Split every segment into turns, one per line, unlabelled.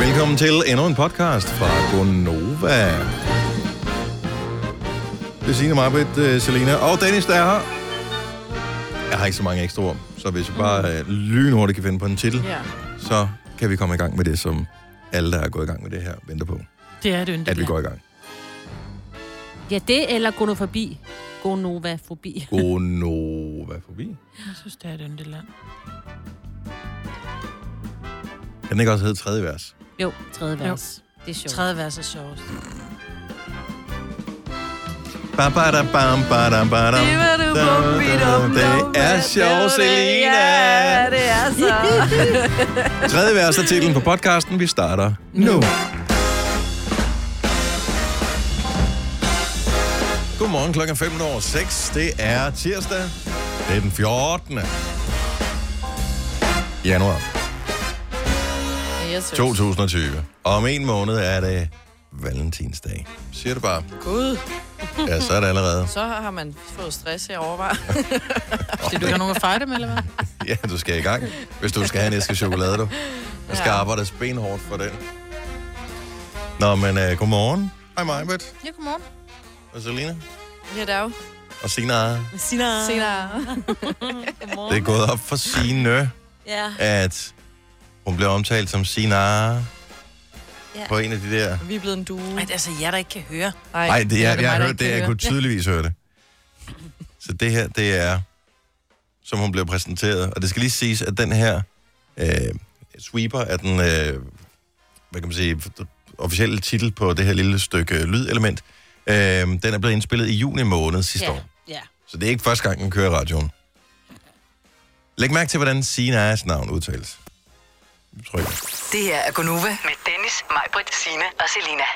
Velkommen til endnu en podcast fra Gonova. Det er Signe Marbet, øh, Selina og Dennis, der er her. Jeg har ikke så mange ekstra ord, så hvis jeg bare øh, lynhurtigt kan finde på en titel,
Mm. Ja,
så kan vi komme i gang med det, som alle, der er gået i gang med det her, venter på,
det er et yndigt.
at vi går i gang.
Ja, det eller gonofobi. Gonovafobi.
Gonova forbi.
Jeg synes, det er et yndigt land.
Kan den ikke også hedde tredje vers?
Jo, tredje
Jo.
vers. Det er sjovt.
Tredje vers er sjovt.
Ba, ba, da, bam, ba, da, ba, da. Det er sjovt, Selina.
Ja, det er så.
Tredje vers er titlen på podcasten. Vi starter nu. Godmorgen klokken 5 over 6. Det er tirsdag. Det er den 14. januar
Yes, sir.
2020. Om en måned er det valentinsdag. Siger det bare.
Gud,
Ja, så er det allerede.
Så har man fået stress herovre, var.
skal du have nogen at fejre dem, eller hvad?
Ja, du skal i gang, hvis du skal have en æske chokolade, du. Der skal arbejdes benhårdt for den. Nå, men uh, godmorgen. Hej, Majbert.
Ja, godmorgen.
Og Selina.
Ja, der er jo
Og Sina.
Sina.
senere.
Det er gået op for Sine,
Ja.
at hun blev omtalt som Sina ja. på en af de der...
Vi er blevet en duo.
Men altså, jeg der ikke kan høre.
Nej, det, jeg,
det
jeg
mig,
har
der
hørt
ikke
det.
kan
Jeg kunne tydeligvis høre det. Så det her, det er, som hun blev præsenteret. Og det skal lige siges, at den her øh, sweeper er den, øh, hvad kan man sige, officielle titel på det her lille stykke øh, lydelement. Øh, den er blevet indspillet i juni måned sidste ja.
Ja.
år.
ja.
Så det er ikke første gang, den kører i radioen. Læg mærke til, hvordan Sinas navn udtales. Tryk.
Det her er Gunova med Dennis, Majbrit, Sina og Selina.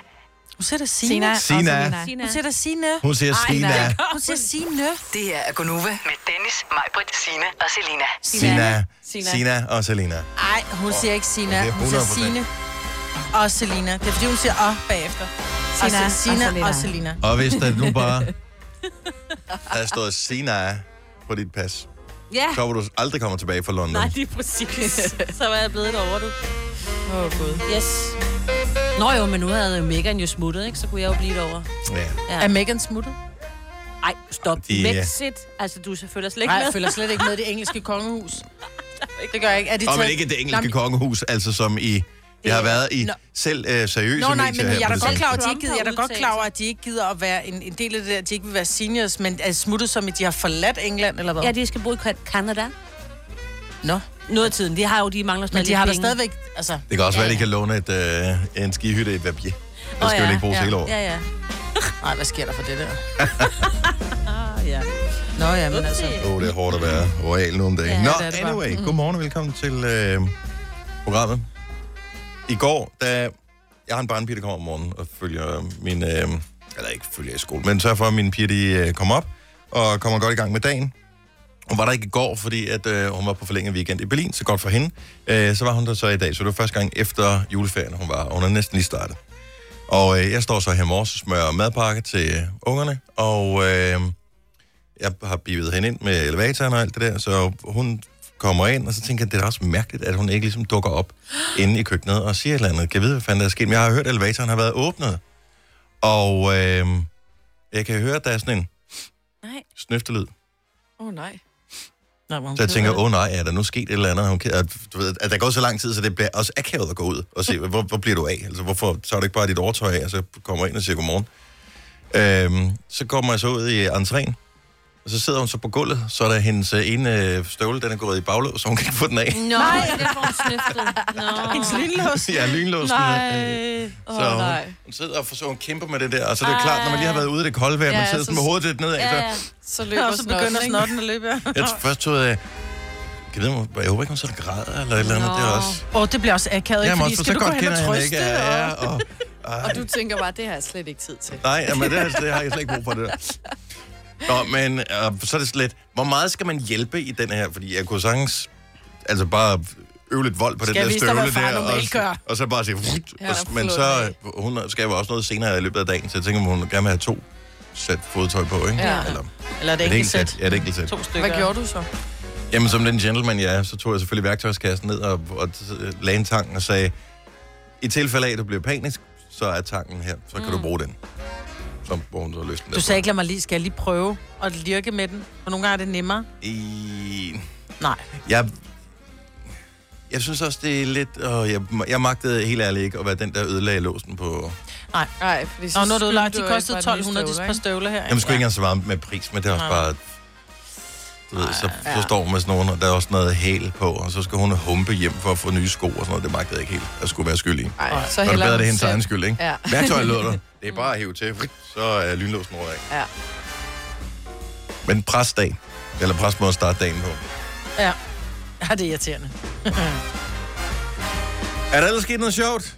Nu siger der
Sina.
Sina.
Sina.
Nu siger der Sina.
Hun siger Sina.
Nu siger Sina.
Det her er Gunova med Dennis, Majbrit, Sina og Selina.
Sina.
Sina.
Sina og Selina.
Nej, hun siger ikke Sina.
det er
Hun siger
100%.
Sine. Og Selina. Det er fordi, hun siger og bagefter. Og siger
Sina
Sina
og
og
Selina.
Selina.
Og hvis der nu bare havde stået Sina på dit pas,
Ja.
så var du aldrig kommet tilbage fra London.
Nej, lige præcis. Så var jeg blevet derovre, du.
Åh, oh, Gud.
Yes. Nå jo, men nu havde Megan jo smuttet, ikke? Så kunne jeg jo blive derovre.
Ja.
Er Megan smuttet?
Ej, stop.
De- øh,
De... Brexit. Altså, du følger slet ikke
Nej,
med.
jeg følger slet ikke med i det engelske kongehus. Det gør jeg ikke. Er de
Og men
taget-
ikke det
Nå,
engelske
men-
kongehus, altså som i... Jeg har været i
Nå.
selv øh, seriøse
Nå, nej,
medier
men
her
jeg
på
er da
det
godt
seneste.
klar over, at de
Trump
ikke gider, jeg er da
har
godt klar
udtalt.
over, at de ikke gider at være en, en del af det der, at de ikke vil være seniors, men er smuttet som, at de har forladt England, eller hvad?
Ja, de skal bo i Kan- Canada.
Nå,
Noget af tiden. De har jo, de mangler stadig
men de har da
penge.
stadigvæk, altså...
Det kan også være, at de kan låne et, øh, en skihytte i Verbier. Det
Åh,
skal jo ikke bruges
ja.
hele år.
Ja, ja.
Nej, hvad sker der for det der?
Ah, ja.
Nå ja, men altså...
Åh, oh, det er hårdt at være royal nu om dagen.
Ja,
Nå,
det er det bare. Mm.
anyway, godmorgen og velkommen til øh, programmet. I går, da jeg har en barnepige, der kommer om morgenen og følger min, øh, eller ikke følger i skole, men sørger for, at mine piger, de øh, kommer op og kommer godt i gang med dagen. Hun var der ikke i går, fordi at, øh, hun var på forlænget weekend i Berlin, så godt for hende. Øh, så var hun der så i dag, så det var første gang efter juleferien, hun var, og hun er næsten lige startet. Og øh, jeg står så her i morges og smører madpakke til øh, ungerne, og øh, jeg har bivet hende ind med elevatoren og alt det der, så hun kommer ind, og så tænker jeg, det er da også mærkeligt, at hun ikke ligesom dukker op inde i køkkenet og siger et eller andet. Kan jeg vide, hvad fanden der er sket? Men jeg har hørt, at elevatoren har været åbnet. Og øh, jeg kan høre, at der er sådan en
Nej.
snøftelyd.
Åh, oh, nej.
Nå, men hun
Så jeg
gider
tænker,
det.
åh oh, nej, er der nu sket et eller andet? Hun kan, at, du ved, at der går så lang tid, så det bliver også akavet at gå ud og se, hvor, hvor bliver du af? Altså, hvorfor tager du ikke bare dit overtøj af, og så kommer jeg ind og siger godmorgen? Øhm, så kommer jeg så ud i entréen, og så sidder hun så på gulvet, så er der hendes øh, ene øh, støvle, den er gået i baglås, så hun kan ikke få den af.
Nå, Nej. det får hun snøftet. Nå.
Hendes lynlås.
ja, lynlåsen.
Åh,
Så
oh,
hun,
nej.
hun sidder og forsøger, hun kæmper med det der, og så er det jo klart, når man lige har været ude i det kolde vejr, ja,
Ja,
man sidder
så-
sådan med hovedet lidt nedad,
Ja,
så
ja.
Så løber
Og så begynder snotten at løbe. ja.
jeg først tog jeg, jeg, ved, om hun- jeg håber ikke, hun sidder og græder eller et eller andet, det er også...
Åh, det bliver også akavet, ikke?
Jamen,
Fordi
også, for
skal
så
du gå
godt
hen
kender
og
jeg hende ikke.
trøste?
Ja, ja,
og-
og, ej,
Og du tænker bare, det har jeg slet ikke tid til.
nej, jamen, det, det har jeg slet ikke brug for det der. Nå, men øh, så er det slet, hvor meget skal man hjælpe i den her? Fordi jeg kunne sagtens, altså bare øve lidt vold på
Skal jeg
den der
vise dig, hvad
støvle
far
der, og,
normalt gør?
og så bare sige, "Vut",
Ja,
og,
der
men
flot
så,
af.
øh, hun skaber også noget senere i løbet af dagen, så jeg tænker, om hun gerne vil have to sæt fodtøj på, ikke?
Ja.
Eller,
Eller er det
et
enkelt
enkelt
sæt?
sæt. Ja, et enkelt sæt.
To stykker.
Hvad gjorde du så?
Jamen, som den gentleman, jeg er, så tog jeg selvfølgelig værktøjskassen ned og, og lagde en tang og sagde, I tilfælde af, at du bliver panisk, så er tanken her. Så kan mm. du bruge den. Så bruger hun så lysten.
Du sagde ikke, lad mig lige, skal jeg lige prøve at lirke med den? For nogle gange er det nemmere.
I...
Nej.
Jeg... Jeg synes også, det er lidt... Åh, jeg, jeg magtede helt ærligt ikke at være den, der ødelagde låsen på...
Nej.
Nej, fordi
Og nu er det udlagt. De
skyldte du
kostede
ikke bare den nye
1200 de
støvler,
par
ikke?
støvler her.
Jamen, skulle ikke engang svare med pris, men det er også
Nej.
bare... Du ved, så, så står hun med sådan nogen, og der er også noget hæl på, og så skal hun humpe hjem for at få nye sko og sådan noget. Det magtede jeg ikke helt. Jeg skulle være skyldig.
Ej, så
Så er det bedre,
hellere
det er
den
hendes
selv.
egen skyld, ikke?
Ja.
Værktøjet låter. Det er bare at hive til. Så er lynlåsen over ikke.
Ja.
Men præstdag, eller præstmåde at starte dagen på.
Ja. ja, det er irriterende.
Er der ellers sket noget sjovt?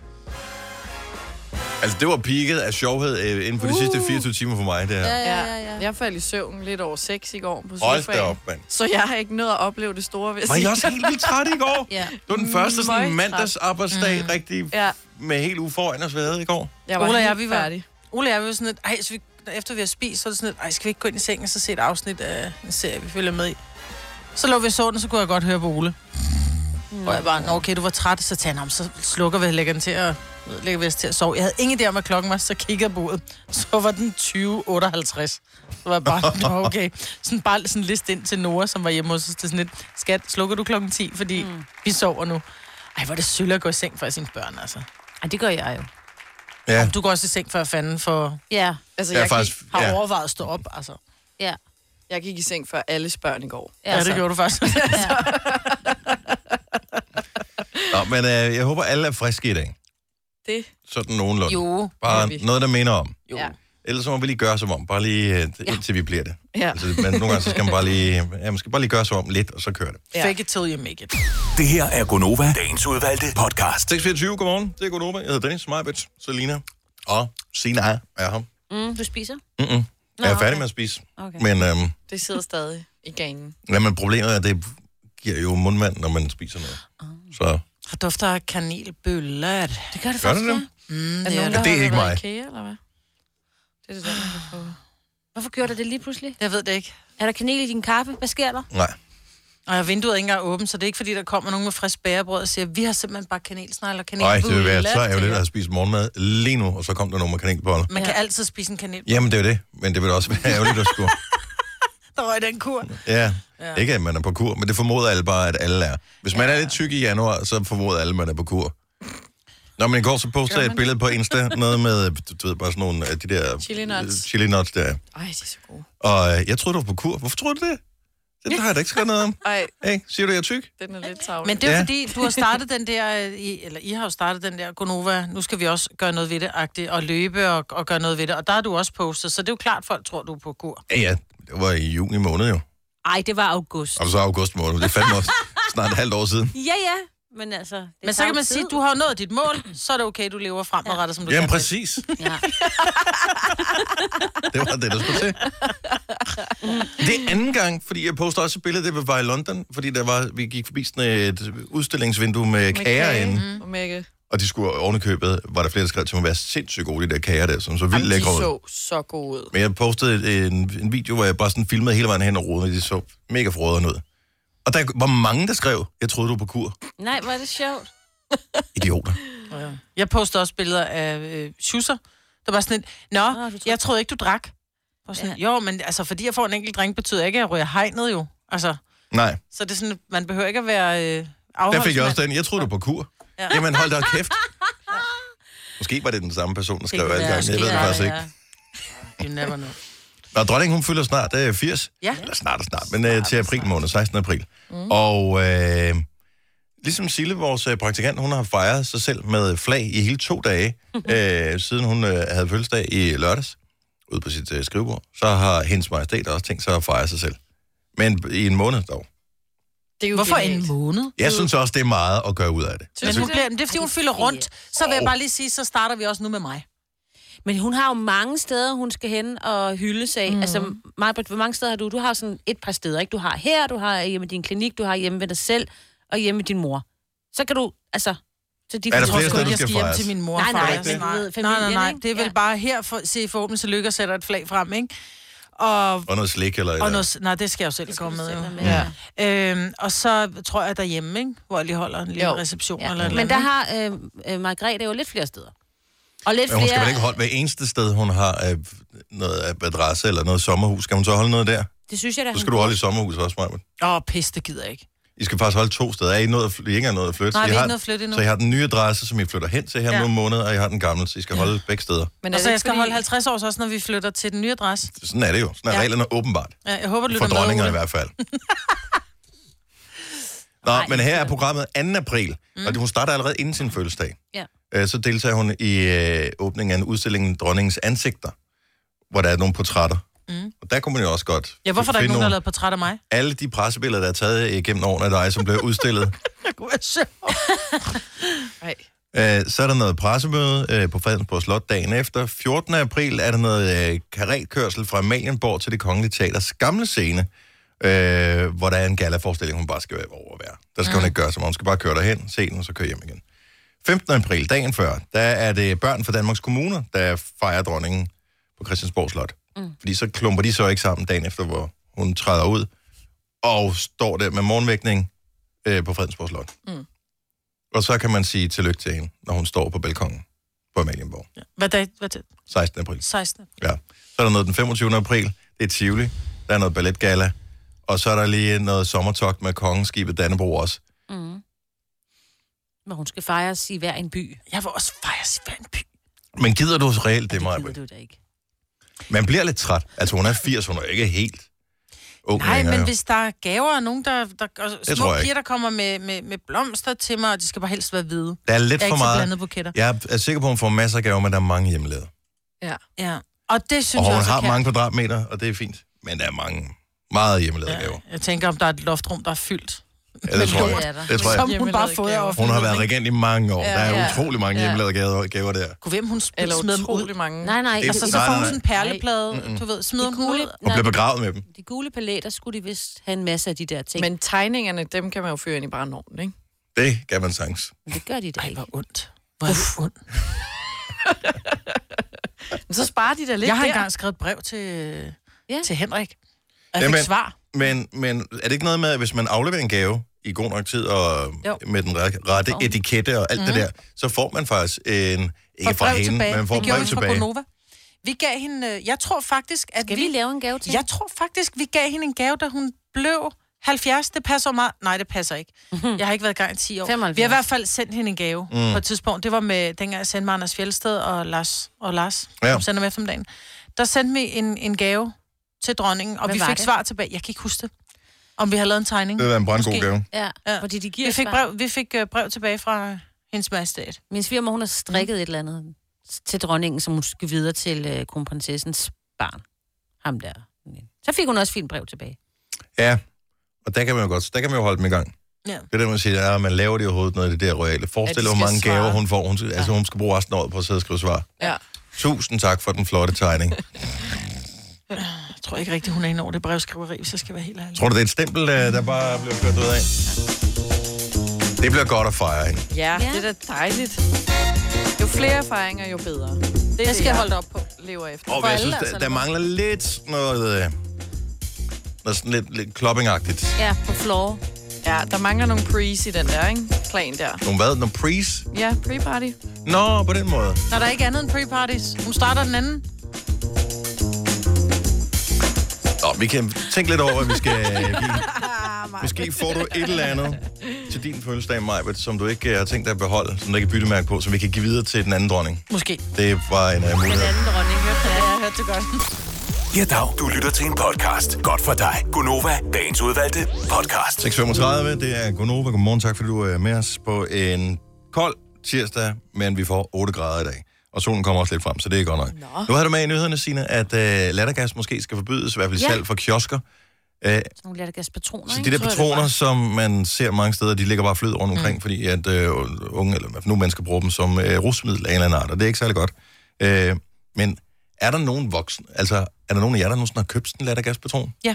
Altså, det var peaket af sjovhed øh, inden for de uh. sidste 24 timer for mig, det her.
Ja,
Ja.
ja, ja.
Ja,
ja.
jeg faldt i søvn lidt over 6 i går på sofaen.
Hold da op, mand.
Så jeg har ikke nået at opleve det store, hvis
Var I også helt vildt træt i går?
ja.
Det var den første sådan
Møgtræt.
mandagsarbejdsdag, mm. rigtig
Ja.
med helt uge foran os været i går.
Jeg
Ola og
helt
jeg, vi var-
færdig.
Ole og jeg var sådan lidt, ej, så vi, efter vi har spist, så er det sådan lidt, ej, skal vi ikke gå ind i sengen og så se et afsnit af en serie, vi følger med i? Så lå vi og så den, så kunne jeg godt høre på Ole. Mm. Og jeg bare, "Nå, okay, du var træt, så tager ham, så slukker vi og lægger den til at, lægger vi os til at sove. Jeg havde ingen idé om, hvad klokken var, så kiggede jeg på uret. Så var den 20.58. Så var jeg bare, Nå, okay. Sådan bare sådan en liste ind til Nora, som var hjemme hos os. Det er sådan lidt, skat, slukker du klokken 10, fordi mm. vi sover nu. Ej, hvor er det sølle at gå i seng for sine børn, altså.
Ej, det gør jeg jo.
Ja,
Du går også i seng for fanden, for
Ja,
Altså,
jeg, er
jeg, gik,
faktisk...
har
Ja.
ja. overvejet at stå op, altså.
ja.
jeg gik i seng før alles børn i går.
Ja,
Ja,
altså.
det gjorde du faktisk.
Nå, men øh, jeg håber, alle er friske i dag.
Det,
Sådan nogenlunde.
jo.
Bare
det er vi.
noget, der minder om.
jo.
ja.
Ellers så må vi lige gøre som om, bare lige øh, indtil vi bliver det.
Ja.
Altså, men nogle gange så skal man bare lige, ja, man skal bare lige gøre som om lidt, og så kører det.
Ja.
Fake it till you make it.
Det her er Gonova, dagens udvalgte podcast.
6.24, godmorgen. Det er Godnova. Jeg hedder Dennis, Majbets, Selina og Sina er her.
Mm, du spiser?
Mm-mm. Jeg er
Nå,
færdig
okay.
med at spise.
Okay.
Men, øhm,
Det sidder stadig i gangen.
ja, men problemet er, at det giver jo mundvand, når man spiser noget. Så
Og dufter af kanelbøller.
Det gør det
gør
faktisk,
det
ja.
det?
Mm,
Er
det, er
nogen,
det.
der
det er
har
ikke
været
mig.
i IKEA, eller hvad? Det er det, der, man kan få.
Hvorfor gjorde du det lige pludselig?
Jeg ved det ikke.
Er der kanel i din kaffe? Hvad sker der?
Nej.
Og vinduet er ikke engang åbent, så det er ikke fordi, der kommer nogen med frisk bagerbrød og siger, vi har simpelthen bare kanelsnegle og
Nej,
kanelbøller.
det vil være så
til
ærgerligt
jer."
at spise morgenmad lige nu, og så kom der nogen med kanelboller.
Man
Ja.
kan altid spise en kanel.
Jamen, det er jo det. Men det vil også være ærgerligt at skulle.
Der røg den kur.
Ja. ja. Ikke, at man er på kur, men det formoder alle bare, at alle er. Hvis man er lidt tyk i januar, så formoder alle, at man er på kur. Nå, men i går så postede jeg et billede på Insta, noget med, du ved, bare sådan nogle af de der... Øh,
Chili nuts.
Chili nuts, der.
Ej, de er så gode.
Og øh, jeg troede, du var på kur. Hvorfor troede du det? Det har jeg da ikke skrevet noget om.
Ej,
Hey, siger du, jeg er tyk?
den er lidt tavlig.
Men det er jo
Ja.
fordi, du har startet den der, øh, I, eller I har jo startet den der Gonova, nu skal vi også gøre noget ved det, agtigt, og løbe og, og gøre noget ved det. Og der har du også postet, så det er jo klart, folk tror, du er på kur.
Ja, ja. Det var i juni måned jo.
Ej, det var august.
Og så august måned. Det er fandme også snart et halvt år siden.
Ja, ja. Men altså... Det
Men så
tager
kan
jo
man
tid.
sige, at du har nået dit mål, så er det okay, du lever fremadrettet, som du
Jamen
gerne vil.
præcis.
Ja.
Det var det, der skulle til. Det er anden gang, fordi jeg poster også et billede, det var i London, fordi der var, vi gik forbi sådan et udstillingsvindue med, med kager inde,
Mm. Og mække.
og de skulle ovenikøbet, var der flere, der skrev til mig, være sindssygt gode, de der kager der, som så vildt
de
lækre ud.
så så gode ud.
Men jeg postede en, en video, hvor jeg bare sådan filmede hele vejen hen og rodede, og de så mega forråderne ud. Og der var mange, der skrev, jeg troede, du var på kur.
Nej, hvor er det sjovt.
Idioter.
Ja. Jeg poster også billeder af øh, schusser. Der var sådan et, Nå,
du
ah,
troede-
jeg troede ikke, du drak. Og sådan, ja. Jo, men altså, fordi jeg får en enkelt drink, betyder ikke, at jeg ryger hegnet jo. Altså,
Nej,
så det er sådan, man behøver ikke at være øh,
der fik jeg
afholdsmand.
også den, jeg troede, du var på kur. Ja. Jamen hold da kæft. Måske var det den samme person, der skrev
kunne
alle
være,
gangen. Jeg ved det
måske
faktisk
var
ikke.
You never know.
Nå, dronningen, hun fylder snart øh, 80.
Ja.
Eller snart og snart, men øh, til april måned, 16. april. Mm. Og øh, ligesom Sille, vores øh, praktikant, hun har fejret sig selv med flag i hele to dage, øh, siden hun øh, havde fødselsdag i lørdags, ude på sit øh, skrivebord, så har hendes majestæt også tænkt sig at fejre sig selv. Men i en måned dog.
Det er jo
Hvorfor
genialt.
en måned?
Jeg synes også, det er meget at gøre ud af det.
Men hun bliver, det er, fordi hun fylder rundt. Så vil jeg
Åh.
bare lige sige, så starter vi også nu med mig.
Men hun har jo mange steder, hun skal hen og hylde sig. Mm. Altså, Marbert, hvor mange steder har du? Du har sådan et par steder, ikke? Du har her, du har hjemme i din klinik, du har hjemme ved dig selv, og hjemme ved din mor. Så kan du, altså... Så de
Er der
Jeg tror
flere
sgu
steder,
ikke,
du
jeg
skal
skal hjem
fejres?
til min mor.
Nej, nej,
faktisk.
men du ved,
nej, nej,
familien,
nej.
ikke?
Det er vel
Ja.
bare her, for, se forhåbentlig, så lykker sætter et flag frem, ikke? og,
Og noget slik eller...
og
eller-
noget, s- nej, det skal jeg jo selv komme med. Jo.
Ja.
Øhm, og så tror jeg derhjemme, ikke? hvor jeg lige holder en lille
Jo.
jo. reception. Ja.
Ja.
Eller et eller
Men der
andet,
har øh, øh, Margrethe jo lidt flere steder. Og lidt
Men hun skal
flere...
vel ikke holde hver eneste sted, hun har øh, noget adresse eller noget sommerhus. Skal hun så holde noget der?
Det synes jeg da,
Så
hun
skal du holde i sommerhus også, Maja.
ikke? Åh, pis, det gider jeg ikke.
I skal faktisk holde to steder. Er I, noget, at fly- I er ikke engang nået at flytte?
Nej,
Så I
vi er
har-
ikke noget flytte endnu.
Så I har den nye adresse, som I flytter hen til her om
Ja.
nogle måneder, og I har den gamle, så I skal holde begge steder.
Men
Og så jeg
ikke
skal holde 50 år så også, når vi flytter til den nye adresse.
Sådan er det jo. Sådan er
Ja.
reglerne åbenbart.
Ja, jeg håber, du
For
lytter med.
dronninger i
Ole.
hvert fald. Nå,
Nej,
men her er
det-
programmet 2. april, mm. og hun starter allerede inden sin fødselsdag.
Ja.
Øh, Så deltager hun i øh, åbningen af en udstilling Dronningens Ansigter, hvor der er nogle portrætter. Mm. Og der kunne man jo også godt
Ja, hvorfor er der
finde
ikke nogen, der har
nogle-
lavet portræt af mig?
Alle de pressebilleder, der er taget igennem årene af dig, som blev udstillet.
Det kunne være sjovt.
Nej.
Øh, Så er der noget pressemøde øh, på Fredensborg Slot dagen efter. 14. april er der noget øh, karatkørsel fra Amalienborg til det Kongelige Teaters gamle scene, øh, hvor der er en galaforestilling, hun bare skal være overvære. Der skal mm. hun ikke gøre så meget. Hun skal bare køre derhen, se den, og så køre hjem igen. 15. april, dagen før, der er det børn fra Danmarks Kommuner, der fejrer dronningen på Christiansborg Slot. Mm. Fordi så klumper de så ikke sammen dagen efter, hvor hun træder ud og står der med morgenvækning øh, på Fredensborg Slot. Og så kan man sige tillykke til hende, når hun står på balkongen på Amalienborg.
Hvad dag? Hvad dag?
16. april.
16.
Ja. Så er der noget den 25. april. Det er Tivoli. Der er noget balletgala. Og så er der lige noget sommertogt med kongeskibet Dannebro også.
Men Mm. hun skal fejres i hver en by.
Jeg vil også fejre Svan by.
Men gider du reelt det,
Det
Maja?
gider du da ikke.
Man bliver lidt træt. Altså, hun er 80, hun er ikke helt ung
Nej,
længere,
men
jo.
hvis der er gaver og nogen, der, der og små
tror jeg
piger,
ikke.
der kommer med, med, med blomster til mig, og de skal bare helst være hvide.
Der er lidt
Jeg er
for
ikke så
meget.
blandet buketter.
Jeg er sikker på, at hun får masser af gaver, men der er mange hjemmelavede.
Ja.
Ja. Og det synes
Og
jeg
hun
også
har
kan.
mange kvadratmeter, og det er fint. Men der er mange, meget hjemmelavede gaver.
Jeg tænker, om der er et loftrum, der er fyldt.
Ja, det tror
lort er
jeg.
der.
Det tror jeg.
Som hun bare
Hjemmelavede
har fået af
gaver.
Hun
offentligheden,
har været
ikke?
regent i mange år. Ja,
Ja,
der er
ja.
utrolig mange
Ja.
hjemmelavede gaver, gaver der.
Kunne hvem hun sm-
Eller
smed dem ud?
utrolig mange.
Mm. Nej, nej.
Det-
Altså, så
Nej,
får
nej,
hun
nej.
sådan en perleplade, du ved, smider
De
hun ud.
gule,
Og
nej,
blev begravet med dem.
de gule paletter skulle de vist have en masse af de der ting. Men
Men tegningerne, dem kan man jo føre ind i brandovnen, ikke?
Det kan man sagtens.
det gør de da
Ej,
ikke.
hvor ondt. Hvor er det ondt.
Men så sparer de da lidt
Jeg har
der.
engang skrevet et brev til,
Ja.
ja. til Henrik. Og jeg fik
Jamen.
svar.
Men, men er det ikke noget med, at hvis man afleverer en gave i god nok tid og
Jo. Mhm.
med den re- rette etikette og alt mm. det der, så får man faktisk en... Ikke
Og
fra hende, men man får
det
et
gjorde
brev
vi fra
tilbage.
Gonova. Vi gav hende... øh, Jeg tror faktisk, at
Skal vi lave en gave til?
Jeg tror faktisk, vi gav hende en gave, da hun blev 70. Det passer jo meget. Nej, det passer ikke. Jeg har ikke været i gang i 10 år.
75.
Vi har i hvert fald sendt hende en gave mm. på et tidspunkt. Det var med, dengang jeg sendte mig Anders Fjeldsted og Lars, og Lars
Ja.
ja. som sender med eftermiddagen. Der sendte vi en, en gave til dronningen, og
Hvad
vi
var
fik
det?
det? svar tilbage. Jeg kan ikke huske det. Om vi har lavet en tegning.
Det vil være en brandgod
Måske.
gave.
Ja,
Ja.
fordi de giver
Vi fik,
svar.
brev, vi fik øh, brev tilbage fra hendes majestæt.
Min svigermor, hun har strikket et eller andet til dronningen, som hun skal videre til øh, kronprinsessens barn. Ham der. Så fik hun også fint brev tilbage.
Ja, og der kan man jo godt, der kan man jo holde dem i gang.
Ja.
Det er det, man siger, ja, man laver det overhovedet noget af det der royale. Forestil
Ja, de
dig, hvor mange
skal svare.
gaver hun får. Hun, skal- altså, hun skal bruge resten af året på at sidde og skrive svar.
Ja.
Tusind tak for den flotte tegning.
Jeg tror ikke rigtigt, hun er inde over det brevskriveri, hvis jeg skal være helt ærlig.
Tror du, det er et stempel, øh, der bare bliver kørt ud af? Det bliver godt at fejre, ikke?
Ja,
Ja.
ja, det er da dejligt. Jo flere erfaringer, jo bedre. Det er
Jeg skal
det,
holde
op på. Lever efter.
Og jeg synes,
altså.
der, der mangler lidt noget... øh, Noget sådan lidt, lidt kloppingagtigt.
Ja, på floor.
Ja, der mangler nogle pre's i den der, ikke? Plan der.
Nogle hvad? Nogle pre's?
Ja, pre-party.
Nå, på den måde.
Når der er ikke andet end pre-parties. Hun starter den anden.
Nå, vi kan tænke lidt over, hvad vi skal øh, give. Måske får du et eller andet til din fødselsdag, Majbet, som du ikke øh, har tænkt dig at beholde, som der ikke er byttemærke på, som vi kan give videre til den anden dronning.
Måske.
Det var en uh, mulighed.
Ja, dag. Du lytter til en podcast. Godt for dig. Gunova. Dagens udvalgte podcast.
6.35, det er Gonova. Godmorgen, tak fordi du er med os på en kold tirsdag, men vi får 8 grader i dag. Og solen kommer også lidt frem, så det er godt nok. Nå. Nu har du med i nyhederne, Signe, at øh, lattergas måske skal forbydes, i hvert fald ja.
Ja.
salg for kiosker. Øh,
Sådan nogle lattergaspatroner,
så
ikke?
de der
Tror jeg,
patroner, som man ser mange steder, de ligger bare flød rundt omkring, mm. fordi at øh, unge, eller i hvert fald nogle mennesker bruger dem som øh, rusmiddel af en eller anden art, og det er ikke særlig godt. Øh, men er der nogen voksen, altså er der nogen af jer, der nogensinde har købt sådan en lattergaspatron?
Ja.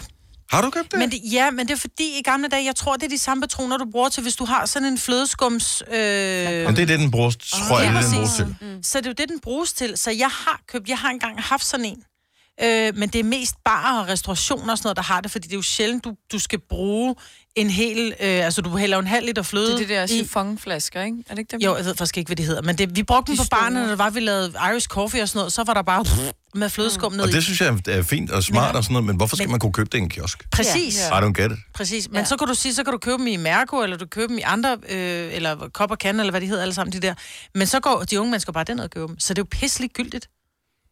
Har du købt det?
Men det, ja, men det er fordi i gamle dage, jeg tror, det er de samme patroner, du bruger til, hvis du har sådan en flødeskums... Øh,
Men det er det, den bruges, tror jeg,
ja,
det er det, den
Mm.
præcis.
bruges til.
Så det er jo det, den bruges til. Så jeg har købt, jeg har engang haft sådan en. Øh, men det er mest barer og restaurationer og sådan noget, der har det, fordi det er jo sjældent, du, du skal bruge en hel... Øh, altså, du hælder jo en halv liter fløde
Det er det der
i.
chiffonflasker, ikke? Er det ikke dem?
Jo, jeg ved faktisk ikke, hvad de hedder. Men det, vi brugte dem
De
på barnet,
store.
når det var, vi lavede Irish coffee og sådan noget, så var der bare med flødeskum ned
Mm. Og
i.
det synes jeg er fint og smart og sådan noget, men hvorfor skal
Men-
man kunne købe det i en kiosk?
Præcis.
Ja.
I don't get it.
Præcis, men
Ja.
ja. så kan du sige, så kan du købe dem i Mærko, eller du kan købe dem i andre, øh, eller Kop og Kan, eller hvad de hedder alle sammen, de der. Men så går de unge mennesker bare den og køber dem, så det er jo pisselig gyldigt.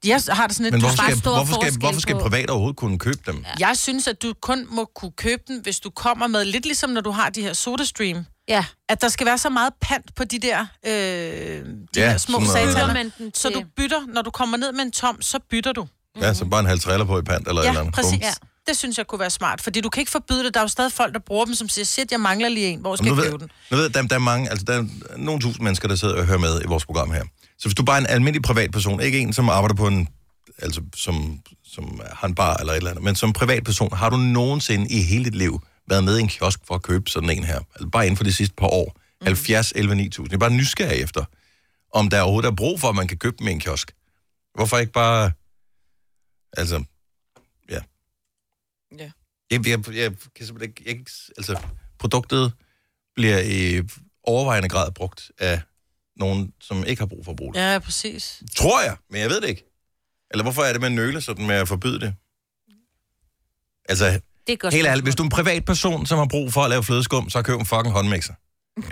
Jeg har det sådan lidt,
Men
du
hvorfor
skal,
skal,
stor
hvorfor skal,
forskel
hvorfor skal
på-
private overhovedet kunne købe dem?
jeg synes, at du kun må kunne købe den, hvis du kommer med, lidt ligesom når du har de her SodaStream,
Ja.
at der skal være så meget pant på de der,
Ja,
øh, de ja, der små
sådan noget.
Så
Bytter
sataner.
man den
Så du bytter, når du kommer ned med en tom, så bytter du.
Ja, så bare en halv triller på i pant eller et eller
Ja,
andet.
præcis.
Bum.
Ja. Det synes jeg kunne være smart, fordi du kan ikke forbyde det. Der er jo stadig folk, der bruger dem, som siger, shit, jeg mangler lige en, hvor skal
Jamen,
jeg
nu
købe
ved,
den?
nu ved, jeg, der, der er mange, altså der er nogle tusind mennesker, der sidder og hører med i vores program her. Så hvis du bare er en almindelig privatperson, ikke en, som arbejder på en, altså som, som han bar eller et eller andet, men som privatperson, har du nogensinde i hele dit liv været med i en kiosk for at købe sådan en her? Altså bare inden for de sidste par år. Mm. 70, 11, 9000. Jeg er bare nysgerrig efter, om der overhovedet er brug for, at man kan købe dem i en kiosk. Hvorfor ikke bare... Altså, ja.
Ja.
Jeg, jeg, jeg, jeg kan simpelthen ikke... Jeg, kan ikke s- altså, produktet bliver i overvejende grad brugt af nogen, som ikke har brug for at bruge det. Ja.
Ja, præcis.
Tror jeg, men jeg ved det ikke. Eller hvorfor er det, man nøler sådan med at forbyde det? Altså,
Det er godt.
helt ærligt, hvis du er en privatperson, som har brug for at lave flødeskum, så køb en fucking håndmixer.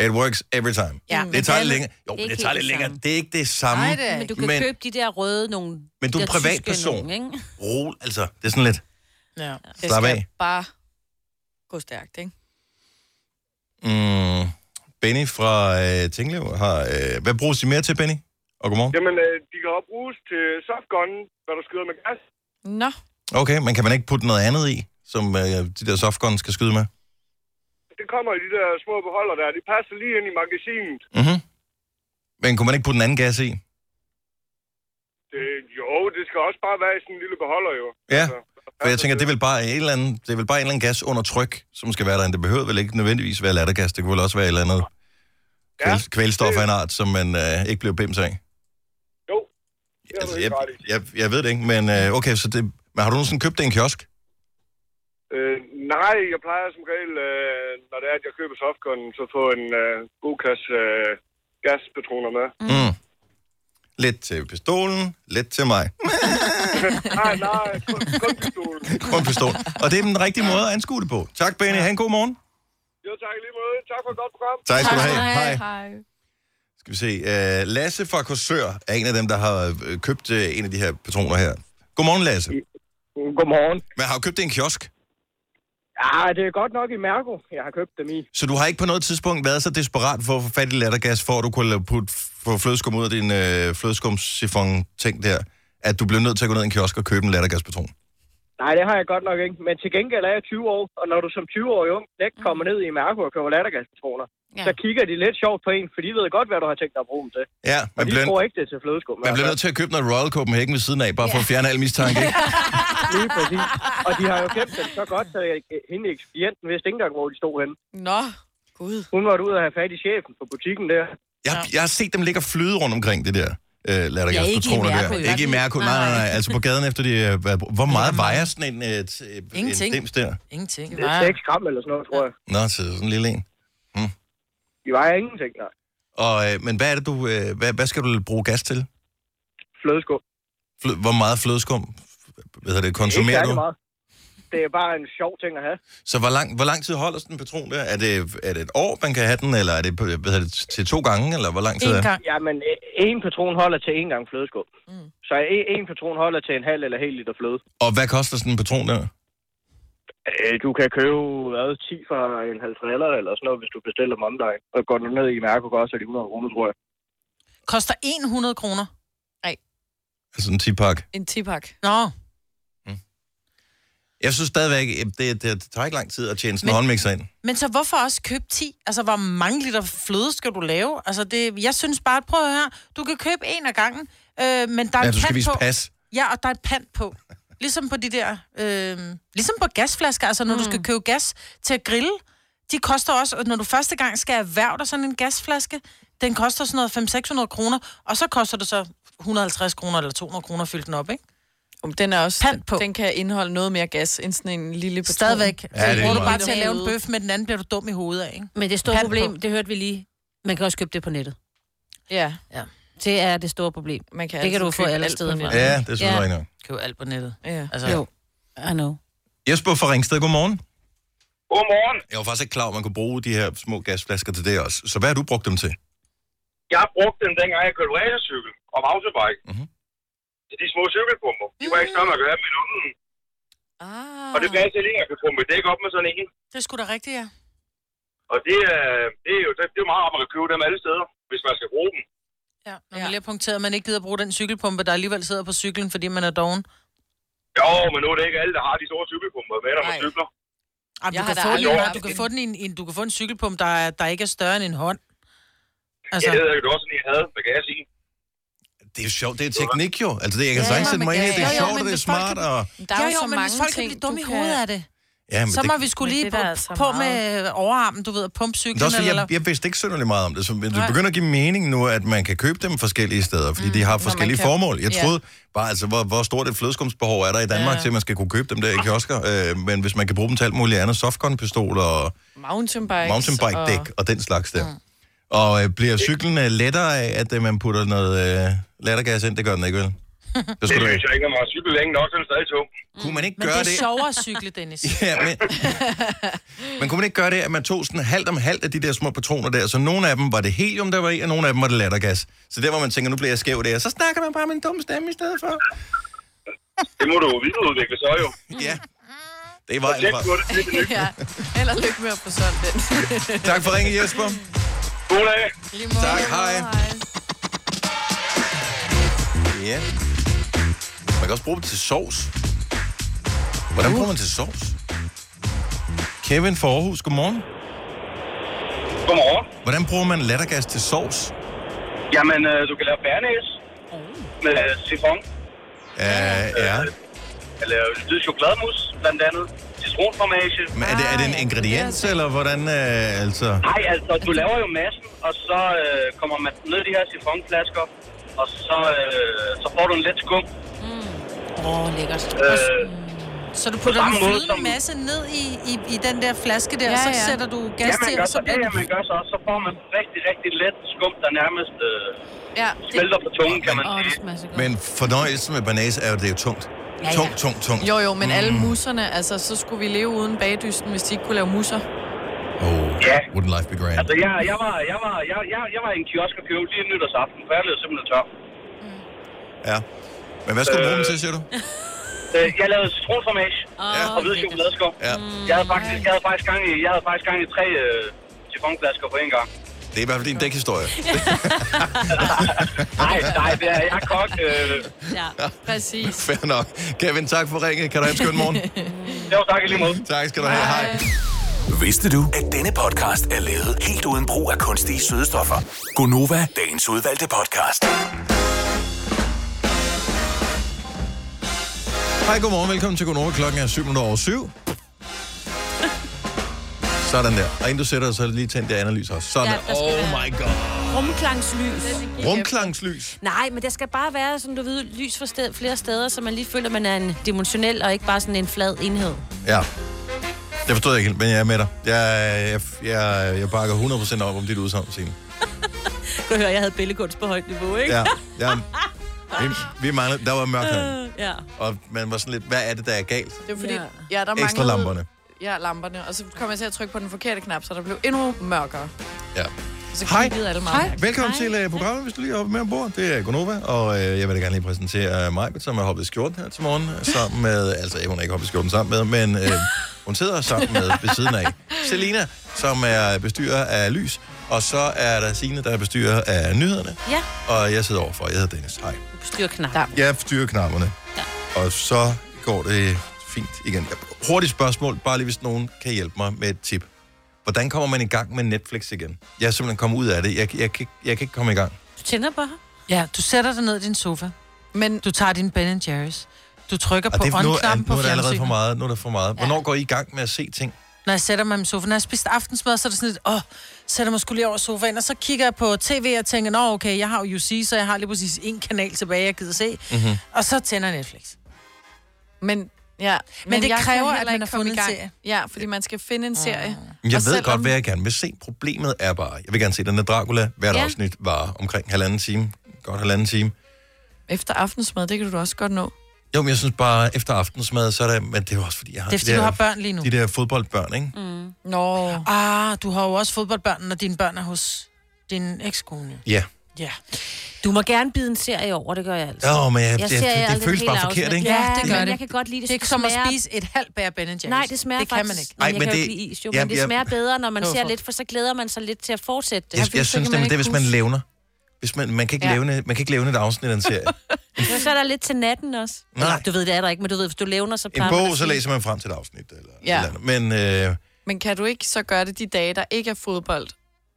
It works every time.
Ja,
Det tager lidt
alle-
længere. Jo,
Det
det,
er ikke
det tager
helt
lidt
det
længere.
samme.
Det er ikke det samme.
Nej, det er
Men
ikke.
du kan
Men-
men, købe de der røde nogen.
Men du er
de der
privatperson.
tyske nogen, ikke?
Rol, altså, det er sådan lidt...
Ja.
Det
Slap
skal
af.
bare gå stærkt, ikke?
Mm, Benny fra øh, Tinglev har... Øh, hvad bruges de mere til, Benny? Og godmorgen.
Jamen, øh, de kan også bruges til softgun, når du skyder med gas.
Nå,
Okay, men kan man ikke putte noget andet i, som øh, de der softguns skal skyde med?
Det kommer i de der små beholder der. De passer lige ind i magasinet.
Mhm. Men kunne man ikke putte en anden gas i?
Det, jo, det skal også bare være i sådan en lille beholder, jo.
Ja,
Altså,
for jeg tænker, det er vel bare en eller anden, det er vel bare en eller anden gas under tryk, som skal være derinde. Det behøver vel ikke nødvendigvis være lattergas. Det kunne vel også være et eller andet
Ja,
kvæl, kvælstof af en art, som man øh, ikke bliver bims af.
jo. Det har du
Altså, jeg,
helt ret i.
jeg, jeg ved det ikke, men øh, okay, så det, men har du nogensinde købt det i en kiosk?
Øh, nej, jeg plejer som regel, øh, når det er, at jeg køber softgun, så få en øh, god kasse øh, gaspatroner med.
Mm. Mm. Lidt til pistolen, lidt til mig.
Nej, nej, kun, kun pistolen.
Kun pistol. Og det er den rigtige måde at anskue det på. Tak, Benny. Ha' en god morgen.
Jo, tak i lige måde. Tak for et godt program.
Tak skal du have. Hej.
hej.
Skal vi se. Øh, Lasse fra Korsør er en af dem, der har øh, købt øh, en af de her patroner her. Godmorgen, Lasse.
Godmorgen.
Men har du købt det i en kiosk?
Ja, Ah, det er godt nok i Mærko, jeg har købt dem i.
Så du har ikke på noget tidspunkt været så desperat for at få fat i lattergas, for at du kunne lave- putte få flødeskum ud af din øh, flødeskumsifon-ting der, at du blev nødt til at gå ned i en kiosk og købe en lattergaspatron?
Nej, det har jeg godt nok ikke. Men til gengæld er jeg 20 år, og når du som 20-årig ung knæk kommer ned i Mærko og køber lattergaspatroner,
Ja.
ja. så kigger de lidt sjovt på en, for de ved godt, hvad du har tænkt dig at bruge dem til.
Ja,
Og
man
de
bliver,
tror ikke, det er til flødeskum.
man bliver
altså.
nødt til at købe noget Royal Copenhagen ved siden af, bare for at fjerne al mistanke. ikke?
Lige præcis. Og de har jo kendt dem så godt, så jeg- hende ekspedienten vidste ikke engang, hvor de stod henne.
Nå, gud.
Hun var ude og have fat i chefen på butikken der.
Jeg, ja. jeg har set dem ligge og flyde rundt omkring det der. Øh,
Ja, ikke i
lattergaspatroner
Mærko, i
der.
hvert
Ikke i
fald.
Mærko, nej, nej, nej. Altså på gaden efter de... øh, hvad- Hvor meget vejer sådan en, øh, t- øh, en
Ingenting.
dims der?
Ingenting.
Det er 6 gram eller sådan noget, tror jeg.
Nå, så sådan en lille en.
De vejer ingenting, nej.
Og, øh, men hvad er det, du... Øh, hvad, hvad skal du bruge gas til?
Flødeskum.
Flø- hvor meget flødeskum hvad hedder det,
ikke
konsumerer
særlig
du?
meget. Det er bare en sjov ting at have.
Så hvor lang, hvor lang tid holder sådan en patron der? Er det, er det et år, man kan have den, eller er det, på- hvad hedder det til to gange, eller hvor lang tid er
En
det?
gang.
Jamen, øh, en patron holder til en gang flødeskum. Mm. Så en, en patron holder til en halv eller hel liter fløde.
Og hvad koster sådan en patron der?
Øh, du kan købe hvad, 10 for en halv triller eller sådan noget, hvis du bestiller dem online. Og går du ned i Mærko, går så er de 100 kroner, tror jeg.
Koster 100 kroner.
Altså en 10-pakke.
En tipak.
Nå,
Jeg synes stadigvæk, det, det, det tager ikke lang tid at tjene sådan en
Men-
håndmixer ind.
men så hvorfor også købe 10? Altså, hvor mange liter fløde skal du lave? Altså, det, jeg synes bare, prøv at høre, du kan købe en af gangen, øh, men der er
Ja,
en
du skal
pant
vise
på.
pas.
Ja, og der er et pant på. Ligesom på de der, øh, ligesom på gasflasker, altså når mm. du skal købe gas til at grille, de koster også, og når du første gang skal erhverve dig sådan en gasflaske, den koster sådan noget 500-600 kroner, og så koster det så 150 kroner eller 200 kroner at fylde den op, ikke?
Um, den er også,
Pant på.
Den kan indeholde noget mere gas end sådan en lille patron.
Stadigvæk.
Ja, det er
Ja, du
meget.
bare til at lave en bøf, med den anden bliver du dum i hovedet af, ikke?
Men det store
Pant
problem,
på.
det hørte vi lige, man kan også købe det på nettet.
Ja,
Det er det store problem.
man kan
Det kan
altid
du få
købe
alle
altså, alt
steder
på
fra.
nettet.
Ja, det er
Ja.
selvfølgelig ja.
Køb alt på nettet.
Ja.
Altså,
Jo. I know.
Jesper fra Ringsted, godmorgen.
Godmorgen.
Jeg var faktisk ikke klar, over, at man kunne bruge de her små gasflasker til det også. Så hvad har du brugt dem til?
Jeg har brugt dem, dengang jeg kørte racercykel og mountainbike.
Mhm.
Mm-hmm. De små cykelpumper, de var ikke større, man kunne have med nogen.
Ah.
Og det blev altid lige, at jeg kunne pumpe et dæk op med sådan en.
Det er sgu da rigtigt, ja.
Og det, er- det er jo det, det er jo meget rart, at man kan købe dem alle steder, hvis man skal bruge dem.
Ja, når
Ja.
man lige har punkteret, at man ikke gider bruge den cykelpumpe, der alligevel sidder på cyklen, fordi man er doven.
Jo, men nu er det ikke alle, der har de store cykelpumper med, når man
Nej.
cykler.
Ej, men
Jeg
du,
har
kan
da
få den,
aldrig
i-
haft
du, kan
en.
få den i en, en, du kan få en cykelpumpe, der, er- der ikke er større end en hånd.
Altså.
Altså,
Ja, det havde jeg jo også sådan, en, jeg havde med gas i.
Det er jo sjovt, det er teknik jo. Altså det, jeg kan
Ja,
ja, sagtens
ja,
sætte mig
men
ind i, det
ja,
er
ja,
sjovt,
men
og det er
hvis folk kan
smart, og...
Der er
jo,
jo,
jo,
så
men
mange
hvis folk
ting,
kan blive dumme
du
i hovedet af det,
Ja, men
så
det,
må vi skulle
Men
lige
det er der
på,
altså
på
meget.
med øh, overarmen, du ved, at pumpe
Men det er
cyklen.
også, fordi,
eller,
jeg, jeg vidste ikke synderligt meget om det, så men det
Nej.
begynder at give mening nu, at man kan købe dem forskellige steder, fordi mm, de har forskellige
kan-
formål. Jeg
Ja.
troede bare, altså, hvor, hvor stort et flødeskumsbehov er der i Danmark, ja.
Ja.
til at man skal kunne købe dem der i kiosker, øh, men hvis man kan bruge dem til alt muligt andet, softgun-pistoler og
Mountainbikes.
mountainbike-dæk og... og den slags der. Mm. Og øh, bliver cyklen øh, lettere af, at øh, man putter noget øh, lattergas ind? Det gør den ikke, vel? Det
Det
skulle du
synes
ikke.
jeg ikke, når man har cyklet længe nok, så er det stadig tung.
Kunne man ikke
men
gøre
det er sjovere at cykle, Dennis.
Ja, men, men kunne man ikke gøre det, at man tog sådan halvt om halvt af de der små patroner der, så nogle af dem var det helium, der var i, og nogle af dem var det lattergas. Så der, hvor man tænker, nu bliver jeg skæv der, så snakker man bare med en dum stemme i stedet for.
Det må du jo videreudvikle så jo.
Ja, det var
Tjek på
bare.
det. det er det.
ja, eller lykke med at få solgt den.
Tak for ringen, Jesper.
God dag.
Lige måde.
Tak, hej. Ja. Man kan også bruge dem til sovs. Hvordan bruger man til sovs? Kevin fra Aarhus, godmorgen.
Godmorgen.
Hvordan bruger man lattergas til sovs?
Jamen, øh, du kan lave bærnæs med sifon.
Uh, ja.
Jeg laver hvid chokolademus, blandt andet. Citronformage.
Men er det, er det en ingrediens, eller hvordan? Øh, altså?
Nej, altså, du laver jo massen, og så øh, kommer man ned i de her sifonflasker, og så, øh, så får du en let skum.
Åh, oh, lækkert.
Øh,
Så du putter den
samme måde,
flydende
som-
masse ned i, i, i den der flaske der,
Ja,
ja, ja.
ja.
så sætter du
ja,
gas
man
til,
gør
og
så,
så
ja,
bliver
ja, altså, man gør så, og så får man rigtig, rigtig let skum, der nærmest øh,
Ja, det,
smelter på tungen, kan man
Åh, det
sige.
smager så godt.
Men fornøjelsen med banase er jo, det er jo tungt. Ja,
ja.
ja. Tungt, tungt, tungt. Mm.
jo, jo, men alle muserne, altså, så skulle vi leve uden bagdysten, hvis de ikke kunne lave musser.
Oh,
Ja.
wouldn't life be grand?
Altså, jeg, jeg, var, jeg, var, jeg, jeg, jeg var i en kiosk og købte lige en nytårsaften, for jeg blev simpelthen tør.
Ja. Men hvad skulle du bruge dem
Øh.
til, siger du?
Øh, jeg lavede citronformage
Ja.
og hvide chokoladeskum.
Ja.
Jeg havde faktisk, jeg havde faktisk gang i, jeg havde faktisk gang i tre øh, sifonflasker på en gang.
Det er i hvert fald din dækhistorie.
Nej, nej, det er, jeg er kok. Øh,
Ja.
Præcis.
Fair nok. Kevin, tak for ringet. Kan du have en skøn morgen?
det var tak i lige måde.
tak skal du have. Hej.
Vidste du, at denne podcast er lavet helt uden brug af kunstige sødestoffer? Gonova, dagens udvalgte podcast.
Hej, godmorgen. Velkommen til Gunova. Klokken er 7 minutter over 7. Sådan der. Og inden du sætter dig, så lige tænd det analyse også. Sådan.
Ja,
Ja,
der skal
oh
være-
my god.
Rumklangslys.
Rumklangslys.
Nej, men der skal bare være, sådan du ved, lys for sted, flere steder, så man lige føler, at man er en dimensionel og ikke bare sådan en flad enhed.
Ja. Det forstod jeg ikke helt, men jeg er med dig. Jeg, jeg, jeg, jeg bakker 100% op om dit udsagn, Signe.
Du hører, jeg havde billedkunst på højt niveau, ikke?
Ja, ja. Vi, vi manglede, der var mørkt herinde.
Øh,
ja.
Og man var sådan lidt, hvad er det, der er galt?
Det var fordi,
Ja.
ja, ja der
Ekstra
manglede...
lamperne.
Ja, lamperne. Og så kom jeg til at trykke på den forkerte knap, så der blev endnu mørkere.
Ja.
Så
Hej.
kiggede alle meget. mærkeligt.
Velkommen Hej. til uh, programmet, hvis du lige er oppe med ombord. Det er Gunova, og øh, jeg vil da gerne lige præsentere uh, Majbet, som er hoppet i skjorten her til morgen, sammen med, altså øh, hun er ikke hoppet i skjorten sammen med, men øh, hun sidder sammen med ved siden af Selina, som er bestyrer af Lys, og så er der Signe, der er bestyrer af Nyhederne,
Ja,
og jeg sidder overfor, jeg hedder Dennis. Hej.
styr knap.
Der.
Jeg styrer knapperne. Og så går det fint igen. Hurtigt spørgsmål, bare lige hvis nogen kan hjælpe mig med et tip. Hvordan kommer man i gang med Netflix igen? Jeg er simpelthen kommet ud af det. Jeg, jeg, jeg, kan ikke- jeg kan ikke komme i gang.
Du tænder bare.
Ja, du sætter dig ned i din sofa.
Men
Du tager din Ben Jerry's. Du trykker
Og
på
det, nu, er,
on-knappen
nu
på
er der allerede for
fjernsynet.
meget. Nu er der for meget. Hvornår går I i gang med at se ting?
Når jeg sætter mig i min sofa, når jeg har spist aftensmad, så er det sådan lidt, åh, sætter mig skulle lige over sofaen, og så kigger jeg på tv og tænker, nå
Mm. Mhm.
okay, jeg har jo UC, så jeg har lige præcis en kanal tilbage, jeg gider se. Mm-hmm. Og så tænder jeg Netflix.
Men, ja, men,
det
jeg kan
kræver,
heller
at man
ikke
har
komme
fundet en
i gang.
serie.
Ja, fordi man skal finde en serie.
Men Jeg
Og
ved
selvom-
godt, hvad jeg gerne vil se. Problemet er bare, jeg vil gerne se den her Dracula. Hvert
Ja.
afsnit var omkring halvanden time. Godt halvanden time.
Ah.
Efter aftensmad, det kan du da også godt nå.
Jo, men jeg synes bare, efter aftensmad, så er det... Men det er jo også, fordi jeg har...
Det er, fordi du har børn lige nu.
De der fodboldbørn, ikke?
Mm. Nå.
Ah, du har jo også fodboldbørn, når dine børn er hos din ekskone.
Ja.
Ja.
Du må gerne bide en serie over, det gør jeg altid.
Åh, men jeg, det,
jeg ser
det, det
aldrig
føles
et
bare
helt
forkert,
afsnit.
ikke?
Ja,
Ja, det
men
gør det.
Jeg kan godt lide det.
Det er ikke som at
smager-
spise et halvt bær Ben Jerry's.
Nej, det smager
det
faktisk...
kan man ikke.
Nej,
Ej,
jeg
men
kan
det-
det... jo ikke lide is, jo,
Ja,
men det
jeg-
smager bedre, når man
Hvorfor?
ser lidt, for så glæder man sig lidt til at fortsætte det.
Jeg,
fordi
jeg
så
synes
kan
nemlig,
man
det er, hvis
ikke
man
huske-
levner. Hvis man, man, kan ikke
Ja.
levne, man kan ikke levne et afsnit af en serie.
Ja. Så er der lidt til natten også.
Nej.
Nå, Du ved, det er der ikke, men du ved, hvis du levner, så
En
plejer man
bog,
at
så
sige-
læser man frem til et afsnit. Eller
Ja.
ja. eller andet. Men øh,
Men kan du ikke så gøre det de dage, der ikke er fodbold,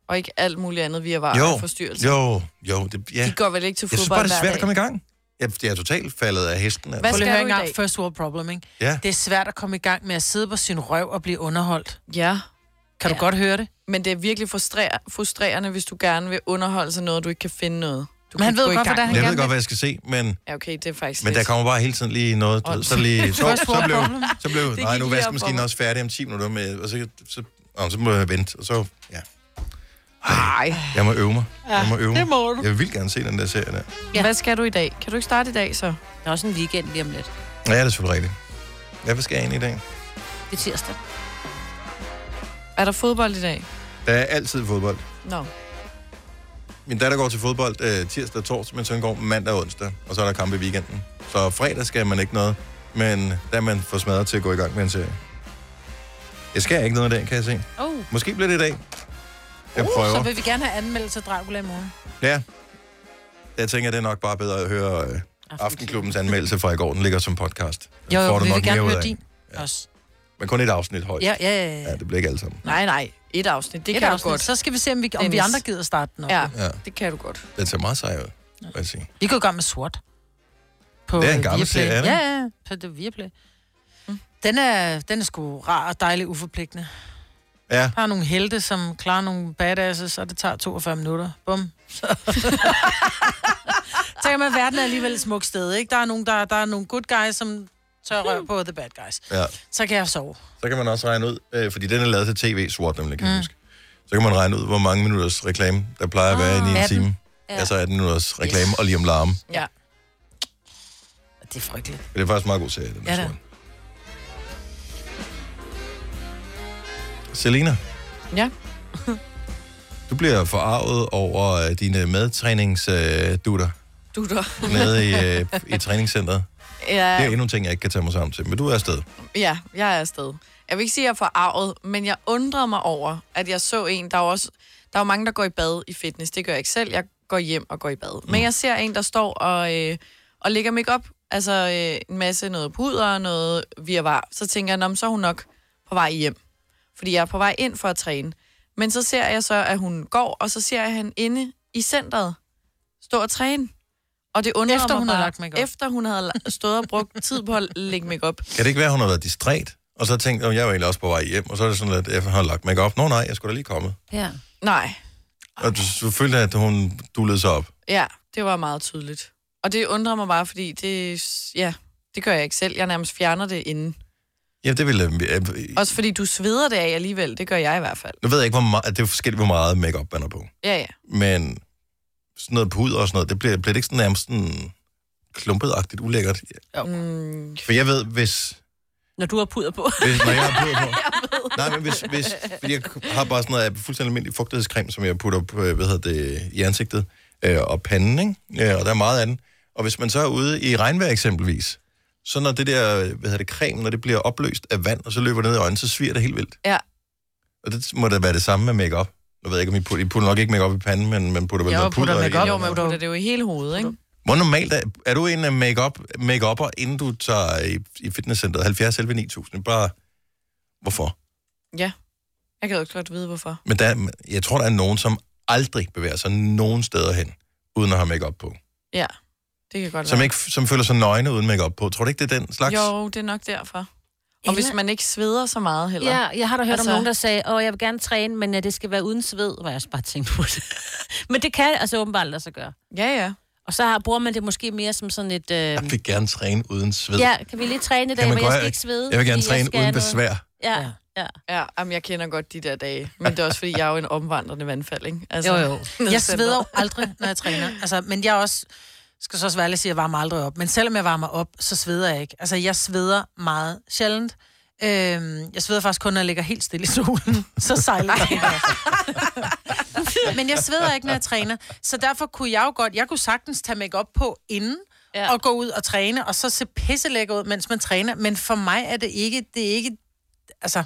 og ikke alt muligt andet via var og
jo,
forstyrrelse?
jo, jo, det, ja.
De går vel ikke til
Jeg synes
fodbold
bare, det er
hver
svært at
dag?
komme i gang. Jeg, jeg er totalt faldet af hesten.
Hvad
Prøv
Altså.
lige at høre
skal du i
engang,
dag?
first world problem, ikke?
Ja.
Det er svært at komme i gang med at sidde på sin røv og blive underholdt.
Ja,
Kan ja. du godt høre det?
men det er virkelig frustrer- frustrerende, hvis du gerne vil underholde sig noget, du ikke kan finde noget. Du
Men han
kan
ved
gå i
godt,
gang
hvordan han
Jeg
med.
gerne
ved
vil.
godt, hvad jeg skal se, men
Ja, okay, det er faktisk
Men der
lidt-
kommer bare hele tiden lige noget, du ved, så lige, så,
First
så
world
blev,
problem.
så blev,
gik
nej,
lige
nu
op
er vaskemaskinen
for
også færdig om 10 minutter med, og så, så, så, så må jeg vente, og så, ja.
Ej.
Jeg må øve mig. Jeg må øve mig.
det må du.
Jeg vil vildt gerne se den der serie der.
Ja.
Hvad skal du i dag? Kan du ikke starte i dag, så?
Der er også en weekend lige om lidt.
Ja, det er selvfølgelig rigtigt. Ja, Hvad skal jeg ind i dag?
Det er tirsdag.
Er der fodbold i dag?
Der er altid fodbold.
Nå.
Min datter går til fodbold øh, tirsdag og torsdag, men søn går mandag og onsdag, og så er der kamp i weekenden. Så fredag skal man ikke noget, men der er man for smadret til at gå i gang med en serie. Jeg skal ikke noget i dag, kan jeg se.
Oh.
Måske bliver det i dag. Jeg
Uh, Så
prøver.
vil vi gerne have anmeldelse af Dracula i morgen.
Ja. Jeg tænker, det er nok bare bedre at høre øh, Aftenklubbens anmeldelse fra i går. Den ligger som podcast. Den
Jo, jo,
får du
vi
nok
vil gerne
mere ud
høre
af.
din. Ja. Også.
Men kun et afsnit højst.
Ja, ja, ja. ja.
ja det bliver ikke alt sammen.
Nej, nej. Et afsnit, det
Et
kan
afsnit.
du godt.
Så skal vi se, om vi, om vi
Dennis.
andre gider starte den op.
Ja,
Ja.
det kan du godt.
Den ser meget sej ud, vil jeg sige.
Vi går i gang med SWAT. På
Det er en
øh,
gammel
Viaplay.
serie, er det? Mm.
Ja, ja, ja. på det Viaplay. Den er, den er sgu rar og dejlig uforpligtende.
Ja,
Der er nogle helte, som klarer nogle badasses, og det tager 42 minutter. Bum. Så kan man, verden er alligevel et smukt sted, ikke? Der er nogle, der, der er nogle good guys, som tør rør på the bad guys.
ja.
Så kan jeg sove.
Så kan man også regne ud, øh, fordi den er lavet til tv, SWAT nemlig, kan mm. huske. Så kan man regne ud, hvor mange minutters reklame, der plejer at være inde i en
18.
time. Ah, Ja. Altså 18 minutters reklame og lige om larme.
Ja.
Det er frygteligt.
Det er faktisk en meget god serie, den
Ja,
ja,
da.
SWAT. Selina,
Ja.
du bliver forarvet over øh, dine medtræningsdutter. Øh,
Du der.
nede i, øh, i træningscenteret. Det er
Ja,
endnu en ting, jeg ikke kan tage mig sammen til, men du er afsted.
ja, jeg er afsted. Jeg vil ikke sige, at jeg er forarvet, men jeg undrede mig over, at jeg så en, der er jo også... Der er jo mange, der går i bad i fitness. Det gør jeg ikke selv. Jeg går hjem og går i bad.
Mm.
Men jeg ser en, der står og, øh, og lægger makeup. Altså øh, en masse noget puder og noget virvar. Så tænker jeg, "Nå, men så er hun nok på vej hjem. Fordi jeg er på vej ind for at træne. Men så ser jeg så, at hun går, og så ser jeg hende inde i centret stå og træne. Og det undrede
Efter
mig
hun
bare,
havde lagt makeup.
efter hun havde la- stået og brugt tid på at lægge makeup.
Kan det ikke være, hun har været distræt? Og så tænkte jeg, jeg var egentlig også på vej hjem, og så er det sådan, at jeg har lagt mig op. Nå nej, jeg skulle da lige komme.
Ja.
Nej,
Og du, du følte, at hun dullede sig op.
Ja, det var meget tydeligt. Og det undrer mig bare, fordi det, ja, det gør jeg ikke selv. Jeg nærmest fjerner det inden.
Ja, det ville... Øh,
Også fordi du sveder det af alligevel. Det gør jeg i hvert fald.
nu ved jeg ikke, hvor meget, det er forskelligt, hvor meget makeup man er på.
Ja, ja.
Men sådan noget pud og sådan noget, det bliver, bliver det ikke sådan nærmest sådan klumpet-agtigt ulækkert.
Mm,
For jeg ved, hvis
Når du har puder på.
Hvis, når jeg har puder på. Nej, men hvis, hvis, fordi jeg har bare sådan noget øh, fuldstændig almindelig fugtighedscreme, som jeg putter på, øh, hvad hedder det, i ansigtet øh, og panden, ikke? Øh, og der er meget af den. Og hvis man så er ude i regnvejr eksempelvis, så når det der, øh, hvad hedder det, creme, når det bliver opløst af vand, og så løber det ned i øjnene, så sviger det helt vildt.
Ja.
Og det må da være det samme med makeup. Nu ved jeg ikke, om I putter, I putter nok ikke makeup i panden, men man putter vel
Jo,
noget
putter
puder i.
makeup.
eller
jo,
noget.
man putter det jo i hele hovedet, ikke?
Hvor normalt er, er du en øh, make-up, make-upper, inden du tager i, i fitnesscenteret 70 11 9000? Bare, hvorfor?
Ja. Jeg kan jo ikke godt vide, hvorfor.
Men der, jeg tror, der er nogen, som aldrig bevæger sig nogen steder hen, uden at have makeup på.
Ja, det kan godt
Som,
være.
ikke, som føler sig nøgne uden makeup på. Tror du ikke, det er den slags?
Jo, det er nok derfor. Og
Eller-
hvis man ikke sveder så meget heller.
Ja, jeg har da hørt altså...
Altså-
om nogen, der sagde, at jeg vil gerne træne, men øh, at det skal være uden sved, hvor jeg også bare tænkte på det. men det kan altså åbenbart lade sig gøre.
ja. ja.
Og så har, bruger man det måske mere som sådan et... Øh,
Jeg vil gerne træne uden sved.
ja, kan vi lige træne i dag,
man
men jeg
godt-
skal ikke svede?
Jeg vil gerne
fordi
træne
skal
uden
have noget-
besvær.
Ja, ja.
Ja, jamen, jeg kender godt de der dage. Men det er også, fordi jeg er jo en omvandrende vandfald, ikke? Altså,
Jo, jo.
Jeg sveder jo aldrig, når jeg træner. Altså, men jeg er også, skal så også være ærlig at sige, at jeg varmer aldrig op. Men selvom jeg varmer op, så sveder jeg ikke. Altså, jeg sveder meget sjældent. Øhm, jeg sveder faktisk kun, når jeg ligger helt stille i solen. Så sejler jeg. men jeg sveder ikke, når jeg træner. Så derfor kunne jeg jo godt, jeg kunne sagtens tage makeup på inden, ja.
Ja.
og gå ud og træne, og så se pisselækker ud, mens man træner. Men for mig er det ikke, det er ikke, altså,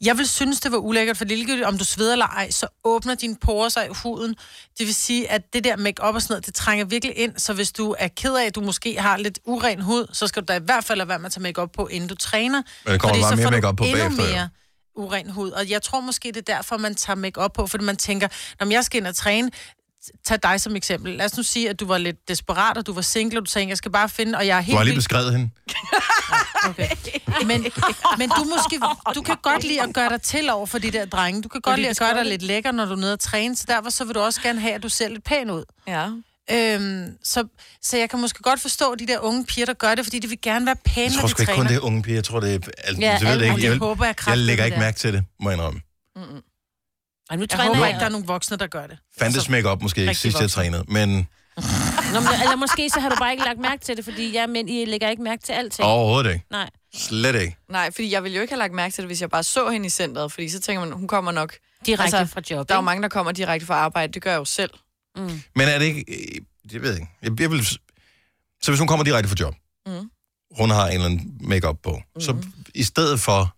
jeg vil synes, det var ulækkert, for ligegyldigt om du sveder eller ej, så åbner dine porer sig i huden. Det vil sige, at det der makeup og sådan noget, det trænger virkelig ind, så hvis du er ked af, at du måske har lidt uren hud, så skal du da i hvert fald lade være med at tage makeup på, inden du træner.
Men der kommer
Fordi
bare
så
mere
får du
makeup på
endnu
bagefter, jo.
mere uren hud. Og jeg tror måske, det er derfor, man tager makeup på, fordi man tænker, når jeg skal ind og træne, tag dig som eksempel. Lad os nu sige, at du var lidt desperat, og du var single, og du tænkte, jeg skal bare finde, og jeg er
Du har
helt
lige
vildt
beskrevet hende.
Okay. Men, men du, måske, du kan godt lide at gøre dig til over for de der drenge. Du kan godt lide at gøre dig lidt lækker, når du er nede og træne, så derfor så vil du også gerne have, at du ser lidt pæn ud.
Ja.
Øhm, så, så jeg kan måske godt forstå de der unge piger, der gør det, fordi de vil gerne være pæne,
Jeg
når
tror
de
sgu ikke kun
træner.
det er unge piger. Jeg tror, det er... Alt,
Ja,
ja, jeg, ved
alle-
det ikke.
Og det
Jeg, vil,
håber jeg
jeg
kraftigt.
lægger ikke
der.
mærke til det, må jeg indrømme.
Altså,
Ej, nu
Jeg
træner
håber
jeg.
ikke, der er nogen voksne, der gør det.
Fandtes make-up måske ikke
rigtig
sidst, jeg
voksen.
trænede. Men
Nå, men, eller måske så har du bare ikke lagt mærke til det, fordi ja, men I lægger ikke mærke til alting.
overhovedet ikke.
Nej.
Slet ikke.
Nej, fordi jeg ville jo ikke have lagt mærke til det, hvis jeg bare så hende i centret, fordi så tænker man, hun kommer nok... Altså,
Direkte fra job,
Der er jo
ikke?
mange, der kommer direkte fra arbejde, det gør jeg jo selv.
Men er det ikke... øh, Jeg ved ikke. Jeg, jeg vil, så hvis hun kommer direkte fra job,
Mm.
hun har en eller anden make-up på, så i stedet for,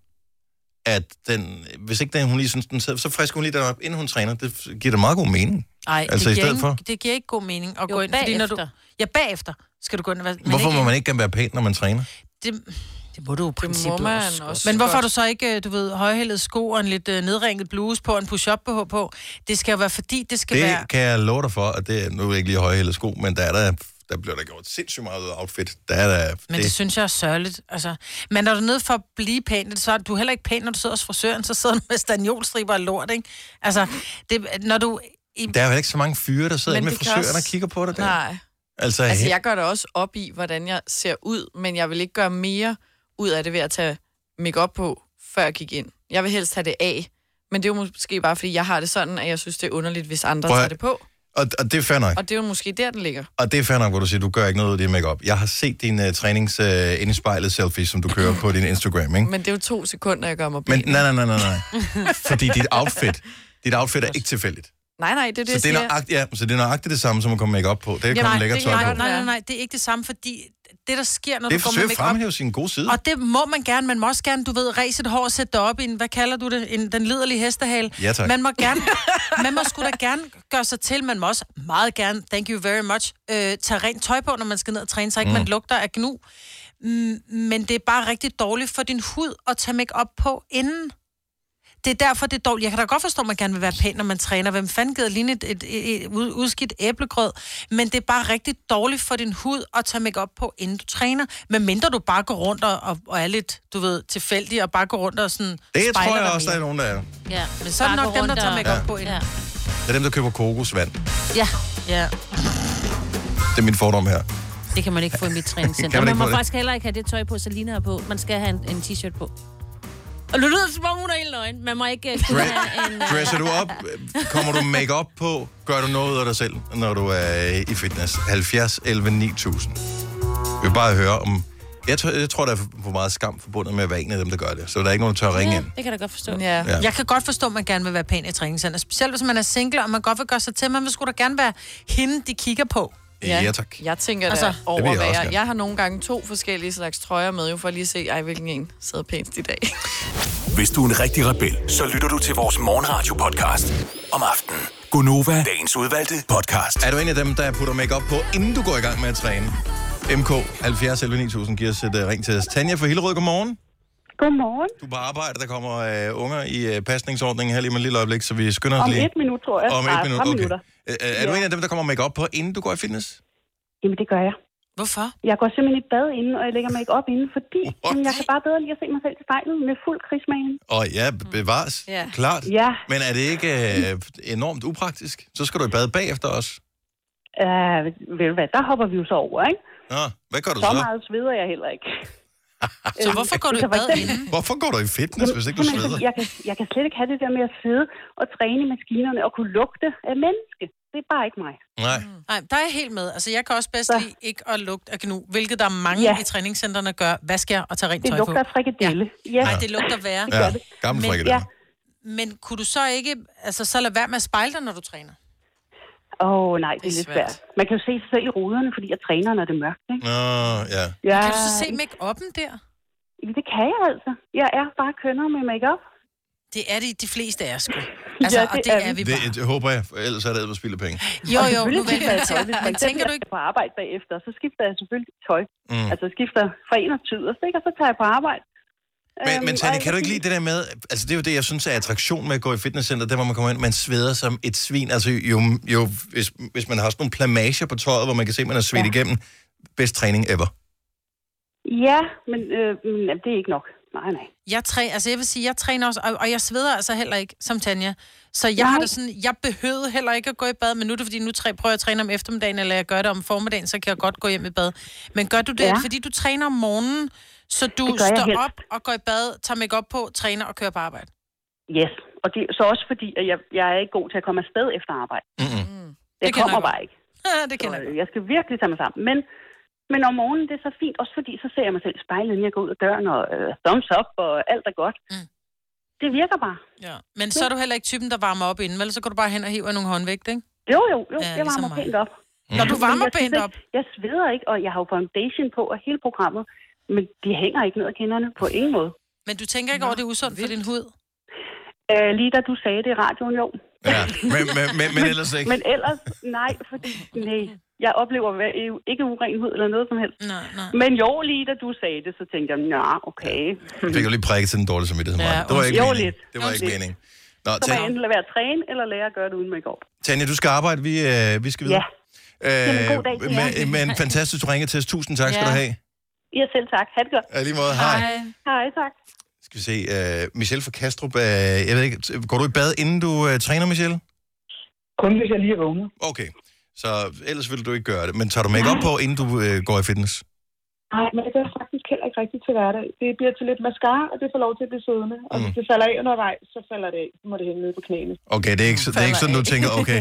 at den... Hvis ikke den, hun lige synes, den sidder, så frisker hun lige den op, inden hun træner. Det f- giver da meget god mening.
Ej,
Altså, i
det, giver
stedet
ikke, det giver ikke god mening at
Jo,
gå ind. Fordi når du,
bagefter.
ja, bagefter skal du gå ind. og være- Men
Hvorfor
ikke,
må man ikke gerne være pæn, når man træner?
Det, det må du jo
Det må man også.
Men hvorfor har
godt.
du så ikke, øh, du ved, højhældet sko og en lidt øh, nedringet bluse på og en push-up BH på? Det skal jo være, fordi det skal
Det
være...
kan jeg love dig for, at det er- nu er det ikke lige høje sko, men der er der, der bliver der gjort sindssygt meget ud af outfit. Der er der,
Men det, det synes jeg er sørgeligt. Altså, men når du er nede for at blive pæn, så er du heller ikke pæn, når du sidder hos frisøren, så sidder du med stagnolstriber og lort, ikke? Altså, det, når du... I,
der er jo ikke så mange fyre, der sidder
Men
inde med
det kan
frisøren
også-
og kigger på dig der.
Nej.
Altså,
Altså,
altså
jeg gør det også op i, hvordan jeg ser ud, men jeg vil ikke gøre mere ud af det ved at tage makeup på, før jeg gik ind. Jeg vil helst have det af, men det er jo måske bare, fordi jeg har det sådan, at jeg synes, det er underligt, hvis andre
Prøv at-
tager det på.
og, og det er fair nok.
Og det er jo måske der, den ligger.
Og det er fair nok, hvor du siger, du gør ikke noget ud af det makeup. Jeg har set din uh, trænings uh, ind i spejlet selfie, som du kører på din Instagram, ikke?
Men det er jo to sekunder, jeg gør mig
Men
pæn.
nej, nej, nej, nej, nej. Fordi dit outfit, dit outfit er ikke tilfældigt.
Nej, nej, det er det,
Så
jeg
det er
siger.
nøjagtigt, ja, så det er nøjagtigt det samme, som at komme makeup på. Det er kommet lækker
det
tøj på.
kan jeg
nej,
godt
nej, nej,
være.
nej, det er ikke det samme, fordi det, der sker, når
Det er
du går med
forsøg at
make-up,
fremhæve sin gode side.
Og det må man gerne. Man må også gerne, du ved, ræse et hår og sætte det op i en, hvad kalder du det, en, den liderlige hestehale.
Ja, tak.
Man må gerne, man må sgu da gerne gøre sig til. Man må også meget gerne, thank you very much, øh, tage rent tøj på, når man skal ned og træne, så ikke mm. man lugter af gnu. Mm, men det er bare rigtig dårligt for din hud at tage make op på inden. Det er derfor, det er dårligt. Jeg kan da godt forstå, at man gerne vil være pæn, når man træner. Hvem fanden gider lige et, et, et, et ud- udskidt æblegrød? Men det er bare rigtig dårligt for din hud at tage makeup på, inden du træner. Men mindre du bare går rundt og, og, og er lidt, du ved, tilfældig og bare går rundt og sådan
Det tror
spejler
jeg
dig
også, der er
mere.
nogen, der er.
Ja.
Men så er det
Bare
nok
gå
dem, der
rundt
tager
og-
makeup på inden.
Ja.
Det er dem, der køber kokosvand.
ja,
Ja.
Det er min fordom her.
det kan man ikke få i mit
Kan
træningscenter.
man
Man,
ikke
man må
få det?
faktisk heller ikke have det tøj på, Salina har på. Man skal have en, en t-shirt på. Og nu lyder det, som om hun er helt nøgen. Man må ikke uh, kunne
Dre-
have en... Uh,
Dresser du op? Kommer du make op på? Gør du noget ud af dig selv, når du er i fitness? 70, 11, 9000. Vi vil bare høre om... Jeg tror, jeg tror, der er for meget skam forbundet med at være en af dem, der gør det. Så der er ikke nogen, der tør at ringe
ja,
ind.
det kan jeg da godt forstå.
Ja.
Ja.
ja.
Jeg kan godt forstå, at man gerne vil være pæn i træningscenter. Specielt hvis man er single, og man godt vil gøre sig til. Man vil sgu da gerne være hende, de kigger på.
Ja, ja tak.
Jeg tænker
Altså,
altså,
det
da over,
vil jeg
hvad
også
jeg,
gerne.
jeg har nogle gange to forskellige slags trøjer med, jo for lige at se, ej, hvilken en sad pænest i dag.
Hvis du er en rigtig rebel, så lytter du til vores morgenradio-podcast om aftenen. Gunova, dagens udvalgte podcast.
Er du en af dem, der putter make op på, inden du går i gang med at træne? MK 70 11 9000 giver os et uh, ring til os. Tanja fra Hillerød, godmorgen.
Godmorgen.
Du er på arbejde, der kommer uh, unger i uh, pasningsordningen her lige med et lille øjeblik, så vi skynder os
Om
lige.
et minut, tror jeg.
Om
Nej,
et minut,
fem
okay.
minutter.
Øh, øh, er du
Ja.
en af dem, der kommer make op på, inden du går i fitness?
Jamen, det gør jeg.
Hvorfor?
Jeg går simpelthen i bad inden, og jeg lægger mig ikke op inden, fordi jamen, jeg kan bare bedre lige at se mig selv i spejlet med fuld krigsmagen.
Og ja,
Mm.
bevares.
Ja.
Klart.
Ja,
Men er det ikke øh, enormt upraktisk? Så skal du i bad bagefter os.
Øh, ved du hvad, der hopper vi jo så over, ikke?
Nå, hvad gør du
Så
så?
meget øh, sveder jeg heller ikke.
Så hvorfor går du i
så for
bad
eksempel-
inden?
Hvorfor går du i fitness, hvis ikke du
Jamen, altså,
sveder?
jeg, kan, jeg kan slet ikke have det der med at sidde og træne i maskinerne og kunne lugte af menneske. Det er bare ikke mig.
Nej.
Nej, der er jeg helt med. Altså, jeg kan også bedst
Så.
lide ikke at lugte af gnu, hvilket der er mange ja.
Ja.
i træningscenterne gør. Vask jer og tag rent
Det
tøj på.
lugter af frikadelle. Ja.
Nej, det lugter værre.
Ja, gammel
Men-
frikadelle.
ja.
Men kunne du så ikke, altså så lad være med at spejle dig, når du træner?
Åh oh, nej, det
Det
er,
er
lidt svært. Man kan jo se sig selv i ruderne, fordi jeg træner, når det er mørkt. Ikke?
Nå, ja.
Ja,
Kan du så se make-up'en der?
det kan jeg altså. Jeg er bare kønner med makeup.
Det er det de fleste af os, sgu. Altså, ja, det og det er vi,
Det,
bare.
jeg håber jeg, for ellers er det at spille penge.
Jo, jo, nu
Selvfølgelig
vælger jeg
skifter jeg tøj. Hvis
Men
man
tænker du ikke,
på arbejde bagefter, så skifter jeg selvfølgelig tøj.
Mm.
Altså skifter fra en og tyderst, ikke? Og så tager jeg på arbejde.
Men, men
Øhm,
Tanja,
og-
kan du ikke lide det der med, altså det er jo det, jeg synes er attraktion med at gå i fitnesscenter, der hvor man kommer ind, man sveder som et svin, altså jo, jo hvis, hvis man har sådan nogle plamager på tøjet, hvor man kan se, at man er svedt ja.
Ja.
igennem, bedst træning ever.
Ja, men, øh, men jamen, det er ikke nok. Nej, nej.
jeg, træ, altså, jeg vil sige, jeg træner også, og, og jeg sveder altså heller ikke, som Tanja. Så jeg har
Nej.
det sådan, jeg behøvede heller ikke at gå i bad, men nu er det fordi, nu træ, prøver jeg at træne om eftermiddagen, eller jeg gør det om formiddagen, så kan jeg godt gå hjem i bad. Men gør du det, ja.
Ja.
fordi du træner om morgenen, så du
Det gør jeg
står
helst.
op og går i bad, tager make op på, træner og kører på arbejde?
Yes. Og det er så også fordi, at jeg, jeg er ikke god til at komme afsted efter arbejde.
Mm-mm.
Det,
Mm. Det
det
kender
kommer
jeg godt.
bare ikke.
det
Så,
kender jeg.
øh, jeg skal virkelig tage mig sammen. Men, men om morgenen, det er så fint, også fordi så ser jeg mig selv i spejlet, inden jeg går ud af døren, og øh, thumbs up, og alt er godt.
Mm.
Mm. Det virker bare.
Ja. Men så er du heller ikke typen, der varmer op inden, vel? Så går du bare hen og hiver nogle håndvægt, ikke?
Jo, jo, jo,
Ja,
ja, jeg
ligesom
varmer
mig.
pænt op.
Når du
Men
varmer
jeg synes
benet
ikke-
op,
Jeg sveder ikke, og jeg har jo foundation på og hele programmet, men de hænger ikke ned ad kinderne på ingen måde.
men du tænker ikke over, det er usundt for din hud?
Øh, lige da du sagde det i radioen, jo.
Ja. Men, men, men, men ellers ikke.
Men ellers, nej, fordi nej, jeg oplever hver- ikke urenhed eller noget som helst.
Nej, nej.
Men jo, lige da du sagde det, så tænkte jeg, nå, okay.
Jeg fik jo lige prikket til den dårlige samvittighed.
Ja,
Ja, det var ikke
Jo,
meningen.
lidt.
Det var ikke
Undskyld.
meningen. Nå,
Så må jeg
Tanja,
enten lade være at træne, eller lære at gøre det uden makeup.
Tanja, du skal arbejde. Vi, øh, vi skal videre. Øh,
Jamen, god dag til jer.
men, men fantastisk, du ringede til os. Tusind tak skal
Ja.
du have.
Ja, selv tak. Ha' det godt.
Ja, lige måde. Hej.
Hej, tak.
Skal vi se. Øh, Michelle fra Kastrup. Øh, jeg ved ikke, t- går du i bad, inden du øh, træner, Michelle?
Kun hvis jeg lige er vågnet.
Okay. Så ellers vil du ikke gøre det. Men tager du make op på, inden du øh, går i fitness?
Nej, men det gør jeg faktisk heller ikke rigtigt til hverdag. Det bliver til lidt mascara, og det får lov til at blive siddende. Og hvis
Mm.
det falder af undervejs, så falder det af. Så må det hænge nede på knæene.
Okay, det er ikke, så- det er ikke sådan, du tænker, okay,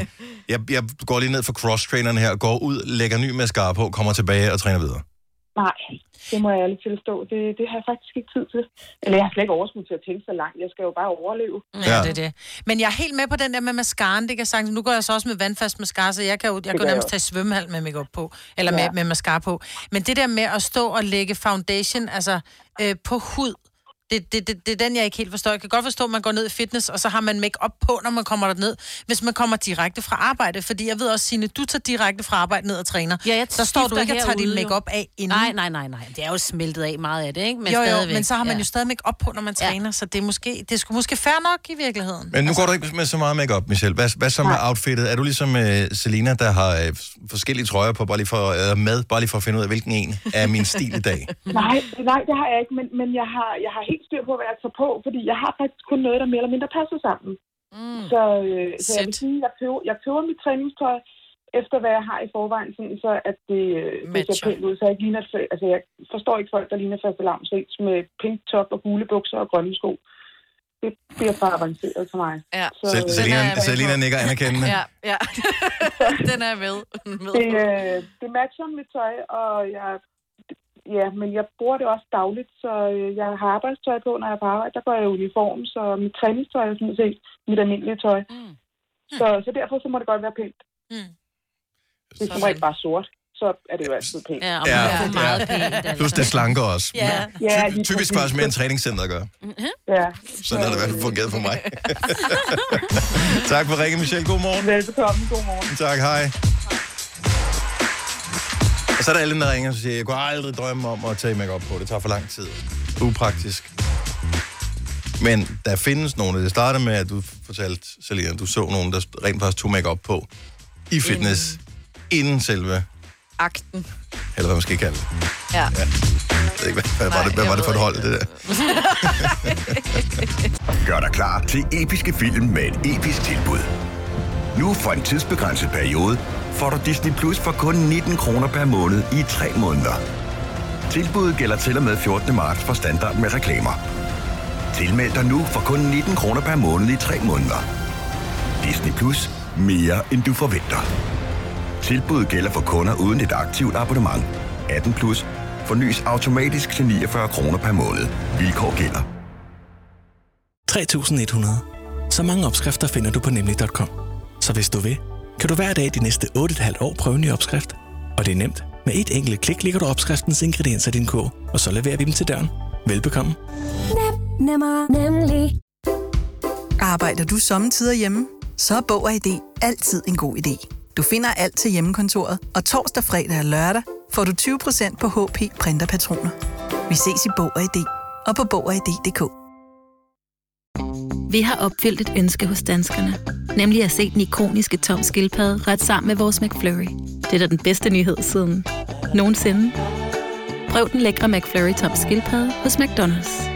jeg, jeg går lige ned for cross-traineren her, går ud, lægger ny mascara på, kommer tilbage og træner videre.
Nej, det må jeg ærligt tilstå. Det, det har jeg faktisk ikke tid til. Eller jeg har slet ikke overskud til at tænke så langt. Jeg skal jo bare overleve.
Ja, det er det. Men jeg er helt med på den der med mascaraen. Det kan sagtens. Nu går jeg så også med vandfast mascara, så jeg kan jo, jeg kan
gør
jo
jeg
nærmest
også.
tage svømmehal med makeup på. Eller med,
Ja.
med mascara på. Men det der med at stå og lægge foundation altså, øh, på hud, det, det, det, det, er den, jeg ikke helt forstår. Jeg kan godt forstå, at man går ned i fitness, og så har man make op på, når man kommer derned, hvis man kommer direkte fra arbejde. Fordi jeg ved også, Signe, du tager direkte fra arbejde ned og træner.
Ja, jeg
så står du
skifter
ikke og tager din
herude jo.
make op af inden.
Nej, nej, nej, nej. Det er jo smeltet af meget af det, ikke? Men
Men jo, jo,
stadigvæk.
men så har man ja.
ja.
jo stadig make op på, når man
Ja.
træner, så det er måske, det er sgu måske fair nok i virkeligheden.
Men nu går du ikke med så meget makeup, Michelle. Hvad, hvad så med outfittet? Er du ligesom øh, Selina, der har øh, forskellige trøjer på, bare lige for, øh, med, bare lige for at finde ud af, hvilken en er min stil i dag?
Nej, nej, det har jeg ikke. Men, men jeg, har, jeg har helt styr på, hvad jeg tager på. Fordi jeg har faktisk kun noget, der mere eller mindre passer sammen.
Mm.
Så, øh, så jeg vil
Sæt.
sige, jeg køber, jeg køber mit træningstøj efter, hvad jeg har i forvejen, sådan så at det, øh, det ser
Matcher.
pænt ud. Så jeg, ikke ligner, et fa- altså, jeg forstår ikke folk, der ligner faste lavnsvings med pink top og gule bukser og grønne sko. Det bliver for avanceret for mig.
Ja.
Så,
Sel-
øh,
den er jeg
Selina,
med
Selina
på.
nikker anerkendende.
Ja, ja. den er jeg med. med.
det, øh, det matcher mit tøj, og jeg, ja, men jeg bruger det også dagligt, så øh, jeg har arbejdstøj på, når jeg er på arbejde. Der går jeg i uniform, så mit træningstøj er sådan set mit almindelige tøj.
Mm.
Så, så derfor så må det godt være pænt.
Mm.
Det er som regel bare sort, så er det jo altid pænt.
Ja, og
Ja,
man ja,
ja.
får meget pænt. Altså.
Plus det slanker også.
Ja.
Ja,
Ty-
lige
typisk
præcis.
faktisk mere end træningscenter gør.
Ja.
Sådan har det i hvert fald fungeret for mig. tak for ringen, Michelle. God morgen.
Velbekomme. God morgen.
Tak, hej. Og så er der alle, der ringer og siger, jeg kunne aldrig drømme om at tage makeup på. Det tager for lang tid. Upraktisk. Men der findes nogle, det starter med, at du fortalte, Selina, at du så nogen, der rent faktisk tog makeup på i fitness,
Mm.
inden, inden selve,
Akten.
eller hvad man skal kalde det.
Ja.
Jeg ved ikke, hvad, hvad, var,
Nej,
det, hvad
jeg
var det for et
ved
hold,
ikke.
det der?
Gør dig klar til episke film med et episk tilbud.
Nu for en tidsbegrænset periode får du Disney Plus for kun 19 kroner per måned i 3 måneder. Tilbuddet gælder til og med 14. marts for standard med reklamer. Tilmeld dig nu for kun 19 kroner per måned i 3 måneder. Disney Plus. Mere end du forventer. Tilbuddet gælder for kunder uden et aktivt abonnement. 18 plus. Fornyes automatisk til 49 kroner per måned. Vilkår gælder.
3100. Så mange opskrifter finder du på nemlig.com. Så hvis du vil, kan du hver dag de næste 8,5 år prøve en ny opskrift. Og det er nemt. Med et enkelt klik ligger du opskriftens ingredienser i din kog, og så leverer vi dem til døren. Velbekomme.
Nem, nemmer, nemlig. Arbejder du sommetider hjemme? Så er Bog og ID altid en god idé. Du finder alt til hjemmekontoret, og torsdag, fredag og lørdag får du 20% på HP printerpatroner. Vi ses i Bog og ID og på Bog og ID.dk.
Vi har opfyldt et ønske hos danskerne. Nemlig at se den ikoniske tom skildpadde ret sammen med vores McFlurry. Det er da den bedste nyhed siden nogensinde. Prøv den lækre McFlurry tom skildpadde hos McDonald's.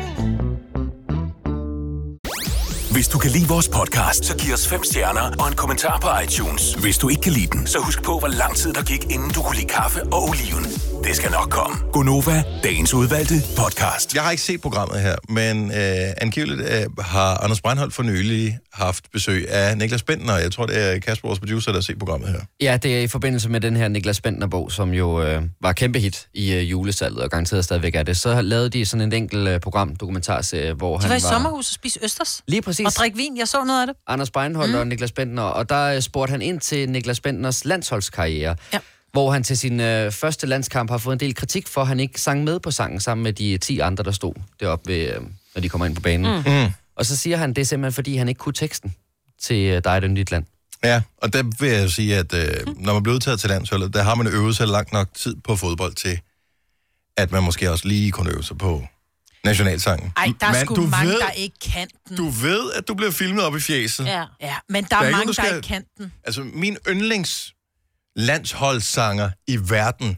Hvis du kan lide vores podcast, så giv os fem stjerner og en kommentar på iTunes. Hvis du ikke kan lide den, så husk på, hvor lang tid der gik, inden du kunne lide kaffe og oliven. Det skal nok komme.
Gonova, dagens udvalgte podcast. Jeg har ikke set programmet her, men øh, angiveligt øh, har Anders Breinholt for nylig haft besøg af Niklas Bentner. Jeg tror, det er Kasper, vores producer, der har set programmet her.
Ja, det er i forbindelse med den her Niklas Bentner-bog, som jo øh, var kæmpe hit i øh, julesalget, og garanteret stadigvæk er det. Så lavede de sådan en enkelt øh, program, dokumentarserie, hvor
De
han
var i
var...
sommerhus og spiste østers.
Lige præcis.
Og drikke vin. Jeg så noget af det.
Anders Beinholt mm. og Niklas Bentner, og der øh, spurgte han ind til Niklas Bentners landsholdskarriere, ja. hvor han til sin øh, første landskamp har fået en del kritik for, at han ikke sang med på sangen sammen med de 10 andre, der stod deroppe, ved, øh,
øhm,
når de kommer ind på banen.
Mm. Mm.
Og så siger han, det er simpelthen, fordi han ikke kunne teksten til øh, dig, den dit land.
Ja, og der vil jeg sige, at øh, når man bliver udtaget til landsholdet, der har man øvet sig langt nok tid på fodbold til, at man måske også lige kunne øve sig på nationalsangen.
Ej, der er
Men
sgu
du
mange,
ved,
der ikke kan den.
Du ved, at du bliver filmet op i fjeset.
Ja. ja, men der,
Der er
der er,
ikke nogen,
mange,
der skal-
der ikke kan den.
Altså, min yndlings landsholdssanger i verden,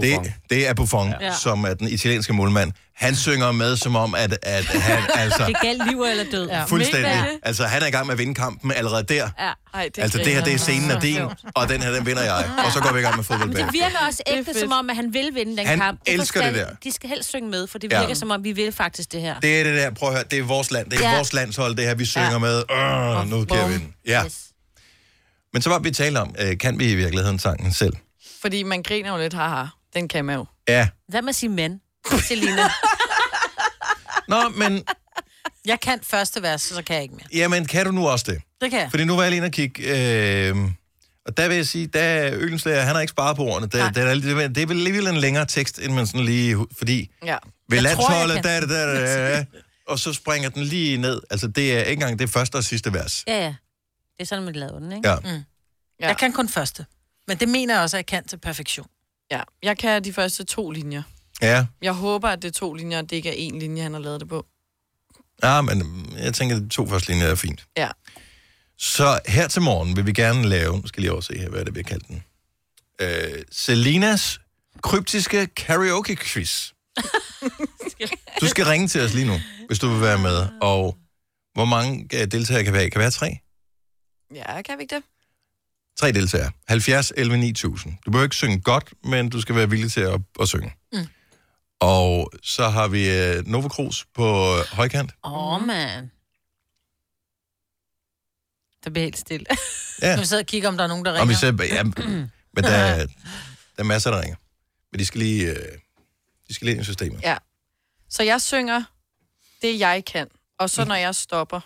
det, det er Buffon,
Ja.
ja. som er den italienske målmand. Han synger med, som om, at, at han altså...
Det galt liv eller død. Ja.
Fuldstændig. Altså, han er i gang med at vinde kampen allerede der.
Ja. Ej,
Det altså, det her, det er scenen er din, og den her, den vinder jeg. Og så går vi i gang med fodboldbanen.
Det virker også ægte, som om, at han vil vinde den
Han
kamp.
elsker det
forstand-
der.
De skal helst synge med, for det
Ja.
virker som om, vi vil faktisk det her.
Det er det der, prøv at høre, det er vores land, det er
Ja.
ja. vores landshold, det her, vi synger
Ja.
ja. med. Øh, nu kan jeg
bum.
vinde. Ja. Yes. Men så var vi tale om, øh, kan vi i virkeligheden sangen selv?
Fordi man griner jo lidt, haha. Den kan man jo.
Ja.
Hvad med at sige men, Selina?
Nå, men...
Jeg kan første vers, så kan jeg ikke mere.
Jamen, kan du nu også det?
Det kan jeg.
Fordi nu var jeg lige inde og kigge, øh, og der vil jeg sige, der er Ølenslager, han har ikke sparet på ordene. Der, der er, lidt- det er vel alligevel en længere tekst, end man sådan lige... Fordi
Ja.
ved
Jeg tror, jeg
landsholdet,
kan.
da, da, da, da, da, og så springer den lige ned. Altså, det er ikke engang det første og sidste vers.
Ja, ja. Det er sådan, man laver den, ikke?
Ja.
Mm. ja. Jeg kan kun første. Men det mener jeg også, at jeg kan til perfektion.
Ja, jeg kan de første to linjer.
Ja.
Jeg håber, at det er to linjer, og det ikke er én linje, han har lavet det på.
Ja, men mm, jeg tænker, at de to første linjer er fint.
Ja.
Så her til morgen vil vi gerne lave, nu skal jeg lige overse her, hvad er det, vi har kaldt den. Øh, Selinas kryptiske karaoke quiz. Du skal ringe til os lige nu, hvis du vil være med. Og hvor mange øh, deltagere kan være? Kan være tre?
Ja, kan vi ikke det?
Tre deltagere. 70, 11, 9000. Du behøver ikke synge godt, men du skal være villig til at, at synge.
Mm.
Og så har vi øh, Nova Cruz på øh, højkant.
Åh, oh, mand. Der bliver helt stille.
Ja.
Nu sidder jeg og kigger, om der er nogen, der ringer.
Om vi så, ja, men der, er- der er masser, der ringer. Men de skal lige, øh, de skal lige ind i systemet.
Ja. Så jeg synger det, jeg kan. Og så når jeg stopper,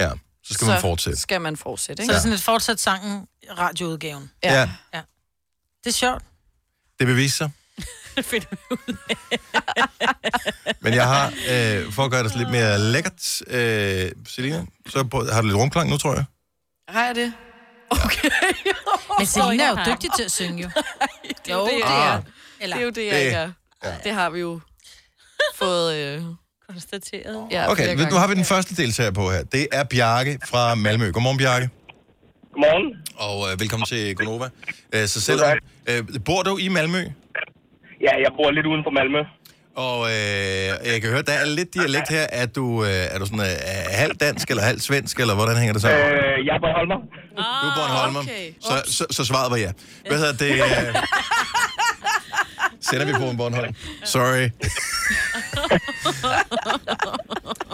Ja, så skal så man fortsætte.
skal man fortsætte.
Så
Ikke?
det er sådan et fortsat sangen, radioudgaven.
Ja. ja.
ja. Det er sjovt.
Det vil vise sig.
Fedt.
Men jeg har, øh, for at gøre det lidt mere lækkert, øh, Selina, så prøv, har du lidt rumklang nu, tror jeg.
Har jeg det?
Men Selina er jo dygtig til at synge, jo.
Det er jo det,
jeg
jeg
er.
er.
Eller-
Det er jo det, jeg
Det-
ikke er. Det har vi jo fået... Øh...
Konstateret.
Ja,
Okay, nu har vi den første deltager på her. Det er Bjarke fra Malmø. Godmorgen, Bjarke.
Godmorgen.
Og øh, velkommen til Gonova. Øh, så selvom, øh, bor du i Malmø?
Ja, jeg bor lidt uden for Malmø.
Og øh, jeg kan høre, der er lidt dialekt her. Er du, øh, er du sådan øh, halv dansk eller halv svensk, eller hvordan hænger det sammen?
Øh, jeg er Bornholmer.
Du er Bornholmer. Okay. Så, så, så svaret var ja. Hvad hedder det? Øh, sender vi på en Bornholm. Sorry.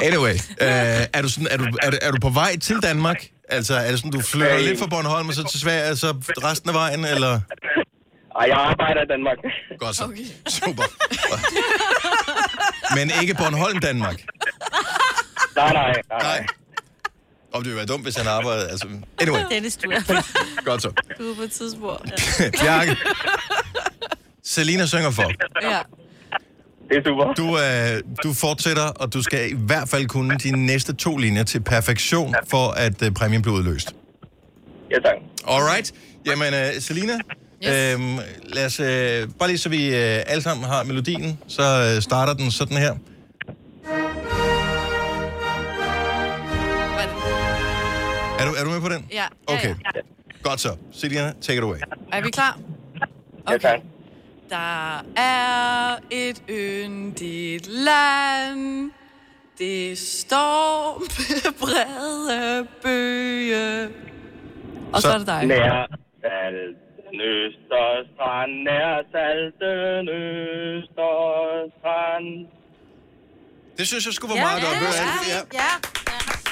Anyway, øh, er, du sådan, er, du, er, du- er du på vej til Danmark? Altså, er det sådan, du flytter
Øh.
lidt fra Bornholm og så til Sverige, og så resten af vejen, eller?
Ej, jeg arbejder i Danmark.
Godt så. Okay. Super. Men ikke Bornholm, Danmark?
Nej, nej, nej.
nej. Om det ville være dumt, hvis han arbejdede. Altså, anyway,
Dennis, du er,
godt så.
du er på et tidsspur.
Bjarke. Selina synger for.
Ja.
Det er super. Du, øh, du fortsætter, og du skal i hvert fald kunne dine næste to linjer til perfektion, for at øh, præmien bliver udløst.
Ja, tak.
Alright. Jamen, øh, Selina, yes. øhm, lad os, øh, bare lige så vi øh, alle sammen har melodien, så øh, starter den sådan her. Er du, er du med på den?
Ja.
Okay. Godt så. Selina, take it away.
Er vi klar?
Okay.
Der er et yndigt land. Det står med brede bøge. Og så, er det dig.
Nær salten øster strand, nær salten øster strand.
Det synes jeg skulle var meget godt. Ved du hvad? Ja.
Ja.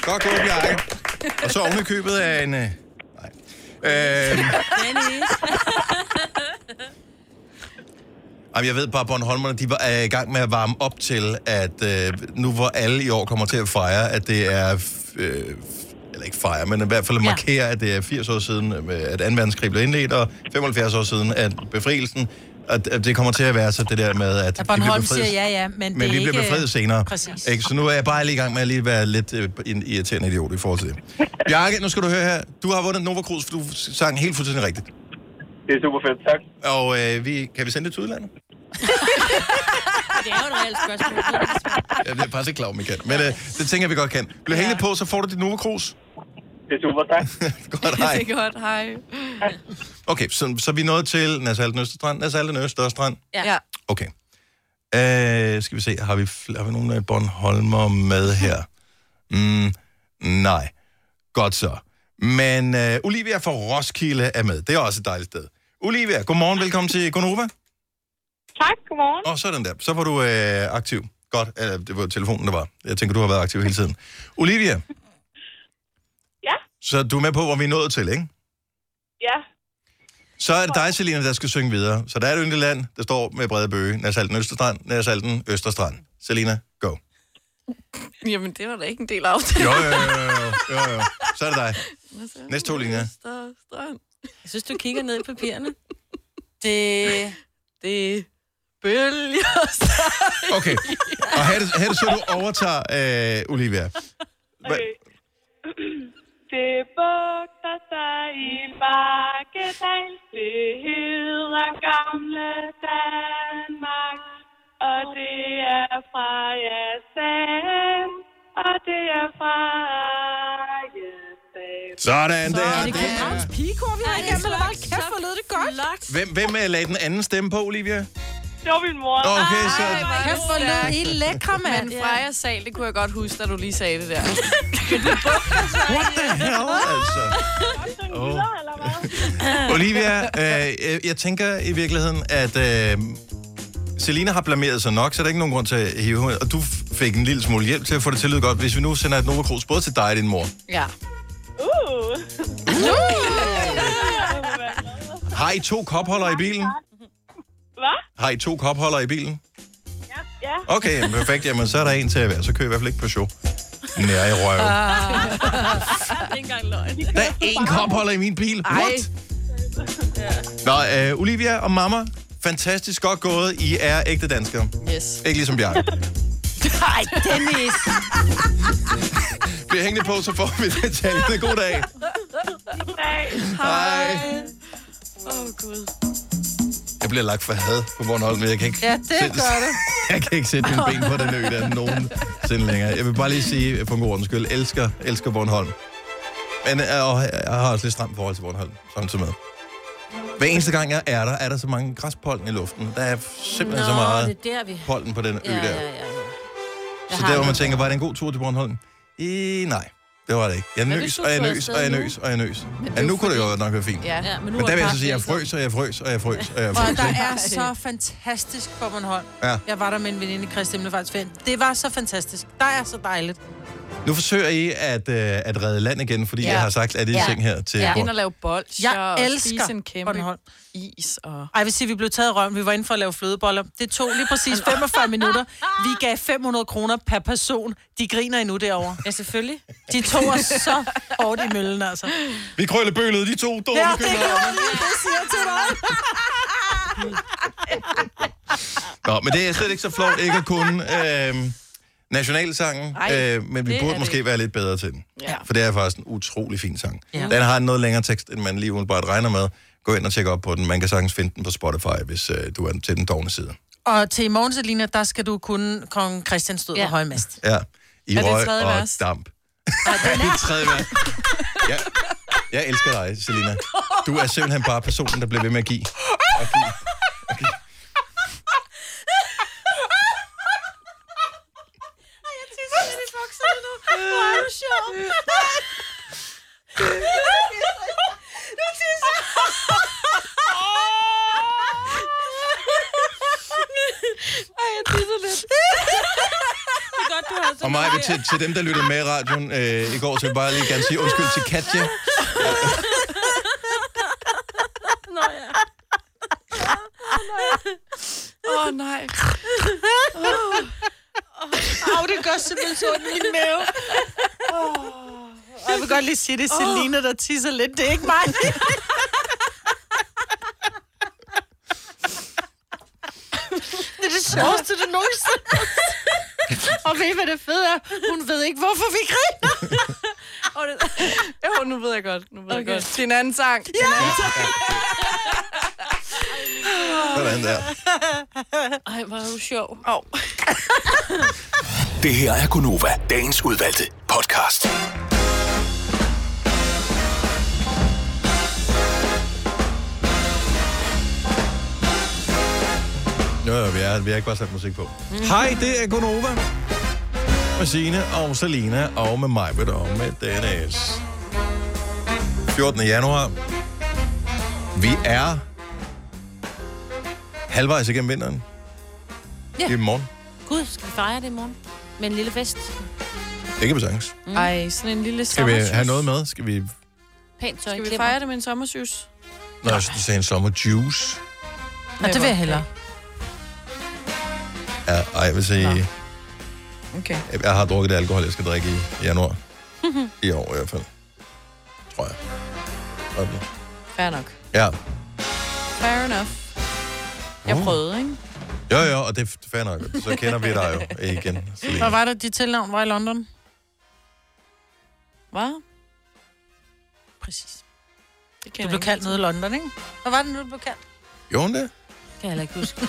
Godt gået, Bjarke. Og så oven i købet af en... Øh, nej. Øh,
Dennis.
jamen, jeg ved bare, at Bornholmerne de var, er i gang med at varme op til, at øh, nu hvor alle i år kommer til at fejre, at det er... f- Øh, f- eller ikke fejre, men i hvert fald markere, at det er 80 år siden, øh, at 2. verdenskrig blev indledt, og 75 år siden, at befrielsen... At, at det kommer til at være så det der med, at
Ja,
vi blev
Bornholm
befriet
siger ja, ja, men,
Men
det er
vi
ikke...
bliver befriet senere.
Præcis.
Ikke? Så nu er jeg bare lige i gang med at lige være lidt øh, en irriterende idiot i forhold til det. Bjarke, nu skal du høre her. Du har vundet Nova Cruz, for du sang helt fuldstændig rigtigt.
Det er super fedt, tak.
Og øh, vi, kan vi sende det til udlandet?
Det er jo et reelt spørgsmål.
Jeg er faktisk ikke klar, om vi kan. Men øh, det tænker jeg, vi godt kan. Bliv hængende på, så får du dit Nova Cruz.
Det er super, tak.
godt, hej.
Det er godt, hej.
Okay, så, så vi er nået til Nasalten Østerstrand. Nasalten Østerstrand.
Ja. ja.
Okay. Øh, skal vi se, har vi, fl- har vi nogle af Bornholmer med her? Mm, nej. Godt så. Men øh, Olivia fra Roskilde er med. Det er også et dejligt sted. Olivia, godmorgen. Velkommen til Gonova.
Tak, godmorgen.
Og sådan der. Så var du øh, aktiv. Godt. Eller, det var telefonen, der var. Jeg tænker, du har været aktiv hele tiden. Olivia.
Ja.
Så du er med på, hvor vi er nået til, ikke?
Ja,
Så er det dig, Selina, der skal synge videre. Så der er et yndigt land, der står med brede bøge. Nærsalten Østerstrand, Nærsalten Østerstrand. Selina, go.
Jamen, det var da ikke en del af aftalen.
Jo, jo, jo, jo, jo, jo. Så er det dig. Næste to linjer.
Jeg synes, du kigger ned i papirerne.
Det... Det... Bølger sig.
Okay. Og her er det, her er det så, du overtager, øh, Olivia.
okay. Det bugter sig i en bakkedal, det hedder gamle Danmark. Og det er fra Jassam, og det er fra Jassam.
Sådan der. Det er det.
Københavns pigekor, vi har igennem, eller hvad? Kæft, hvor lød det godt.
Hvem, hvem øh, lagde den anden stemme på, Olivia?
Det var min mor.
Okay, så...
Kæft,
hvor lød I lækre, mand.
Men Freja sal, det kunne jeg godt huske, da du lige sagde det der.
What the hell, altså? Oh. Olivia, øh, øh, jeg tænker i virkeligheden, at øh, Selina har blameret sig nok, så der er ikke nogen grund til at hive hende. Og du f- fik en lille smule hjælp til at få det til at lyde godt, hvis vi nu sender et Nova Cruz både til dig og din mor.
Ja.
Uh.
Har I to kopholder i bilen?
Hvad?
Har I to kopholder i bilen?
Ja. ja.
Okay, jamen, perfekt. Jamen, så er der en til at være. Så kører jeg i hvert fald ikke på show. Nej, jeg røver.
ikke engang løgn.
Ah. Der er én kopholder i min bil. What? Nå, øh, Olivia og mamma, fantastisk godt gået. I er ægte danskere.
Yes.
Ikke ligesom Bjarke.
Ej, Dennis.
Bliv hængende på, så får vi det talt. God dag. Hej.
Åh, oh, Gud.
Jeg bliver lagt for had på Bornholm, men jeg kan ikke...
Ja, det
sætte-
gør du.
Jeg kan ikke sætte mine ben på den ø, der er nogensinde længere. Jeg vil bare lige sige, for en god ordens skyld, elsker, øh, elsker Bornholm. Men øh, og jeg har også lidt stramt forhold til Bornholm, samtidig med. Hver eneste gang jeg er der, er der så mange græspollen i luften. Der er simpelthen Nå, så meget
det er der, vi...
pollen på den ø
Ja,
der.
ja, ja. ja.
Så
Jeg
der,
har
hvor man
noget.
tænker, var det en god tur til Bornholm? I, nej, det var det ikke. Jeg
Men
nøs,
hvis du
og jeg
tog
nøs,
afsted
og jeg
nu-
nøs, og jeg nøs.
Men det
Ja,
er
nu
jo
kunne det
fordi-
jo godt nok være fint.
Ja. Ja, men nu
men,
er
der
det
vil jeg
bare
så sige, at jeg
blæst op.
frøs, og jeg frøs, og jeg frøs, og jeg
Og
frøs.
der
ikke?
er så fantastisk på Bornholm.
Ja.
Jeg var der med en veninde, Christian Himmelfartsferien. Det var så fantastisk. Der er så dejligt.
Nu forsøger I at, øh, at redde land igen, fordi ja. jeg har sagt, at det er ja. ting her til ja.
Ind og lave bolsjer
Jeg
og
elsker
spise en kæmpe
Bornholm.
is. Og...
Ej, jeg vil sige, vi blev taget i røven. Vi var inde for at lave flødeboller. Det tog lige præcis 45 minutter. Vi gav 500 kroner per person. De griner endnu derovre. Ja, selvfølgelig. De tog os så hårdt i møllen, altså.
Vi krølle bølet, de to dumme
Ja, det
kønnere.
gjorde vi. Det siger jeg til dig.
Nå, men det er slet ikke så flot ikke at kunne øh, nationalsangen,
Ej,
øh, men vi
det er
burde
det
måske
ikke.
være lidt bedre til den.
Ja.
For det er faktisk en utrolig fin sang.
Ja.
Ja. Den har en noget længere tekst, end man lige umiddelbart regner med. Gå ind og tjek op på den. Man kan sagtens finde den på Spotify, hvis øh, du er til den dårlige side.
Og til i morgen, Selina, der skal du kunne kong Christian stod ja. på højmast.
Ja. I
Er det
røg
tredje
og
vers?
damp. Ja, det er tredje vers. Ja. Jeg elsker dig, Selina. Du er simpelthen bare personen, der bliver ved med at give. Og give. Og give.
Jeg tisser lidt i bukserne nu. Hvor er du sjov. Nu tisser jeg. Ej, jeg tisser lidt. Det er godt, du har
Og mig, til, til dem, der lyttede med i radioen øh, i går, så vil jeg bare lige gerne sige undskyld til Katja.
Nå ja. Åh oh, nej. Åh, oh. oh. oh, det gør simpelthen sådan i min mave.
Og jeg vil godt lige sige, det er Selina, der tisser lidt. Det er ikke mig.
Det er det sjoveste, du nogensinde Og ved I, hvad det fede er? Hun ved ikke, hvorfor vi griner.
Og det... Jo, nu ved jeg godt. Nu ved okay. jeg godt. Det er en anden sang. Ja!
Sådan der.
Ej, hvor er du sjov. Oh.
Det her er Gunova, dagens udvalgte podcast.
Nå, ja, vi, er, vi har ikke bare sat musik på. Mm. Hej, det er Gunova. Med Signe og Selina og med mig, ved og med Dennis. 14. januar. Vi er halvvejs igennem vinteren.
Ja.
Det er i morgen.
Gud, skal vi fejre det i morgen? Med en lille fest.
Det kan vi sagtens.
Mm. Ej, sådan en lille
Skal vi
sommersus.
have noget med? Skal vi...
Pænt tøj.
Skal vi fejre det med en sommersus?
Nå, jeg skulle sige en sommerjuice.
Nå, det vil jeg hellere.
Ja, ej, jeg vil sige...
Okay.
Jeg har drukket det alkohol, jeg skal drikke i januar. I år i hvert fald. Tror jeg. Sådan.
Fair nok.
Ja.
Fair enough. Jeg
Uh.
prøvede, ikke?
Jo, jo, og det er f- fair nok. Så kender vi dig jo igen.
Hvad
Selina.
var det, dit tilnavn var i London?
Hvad?
Præcis.
Det
Du blev kaldt nede i London, ikke? Hvad var det nu, du blev kaldt?
Gjorde hun det?
Kan jeg heller ikke huske.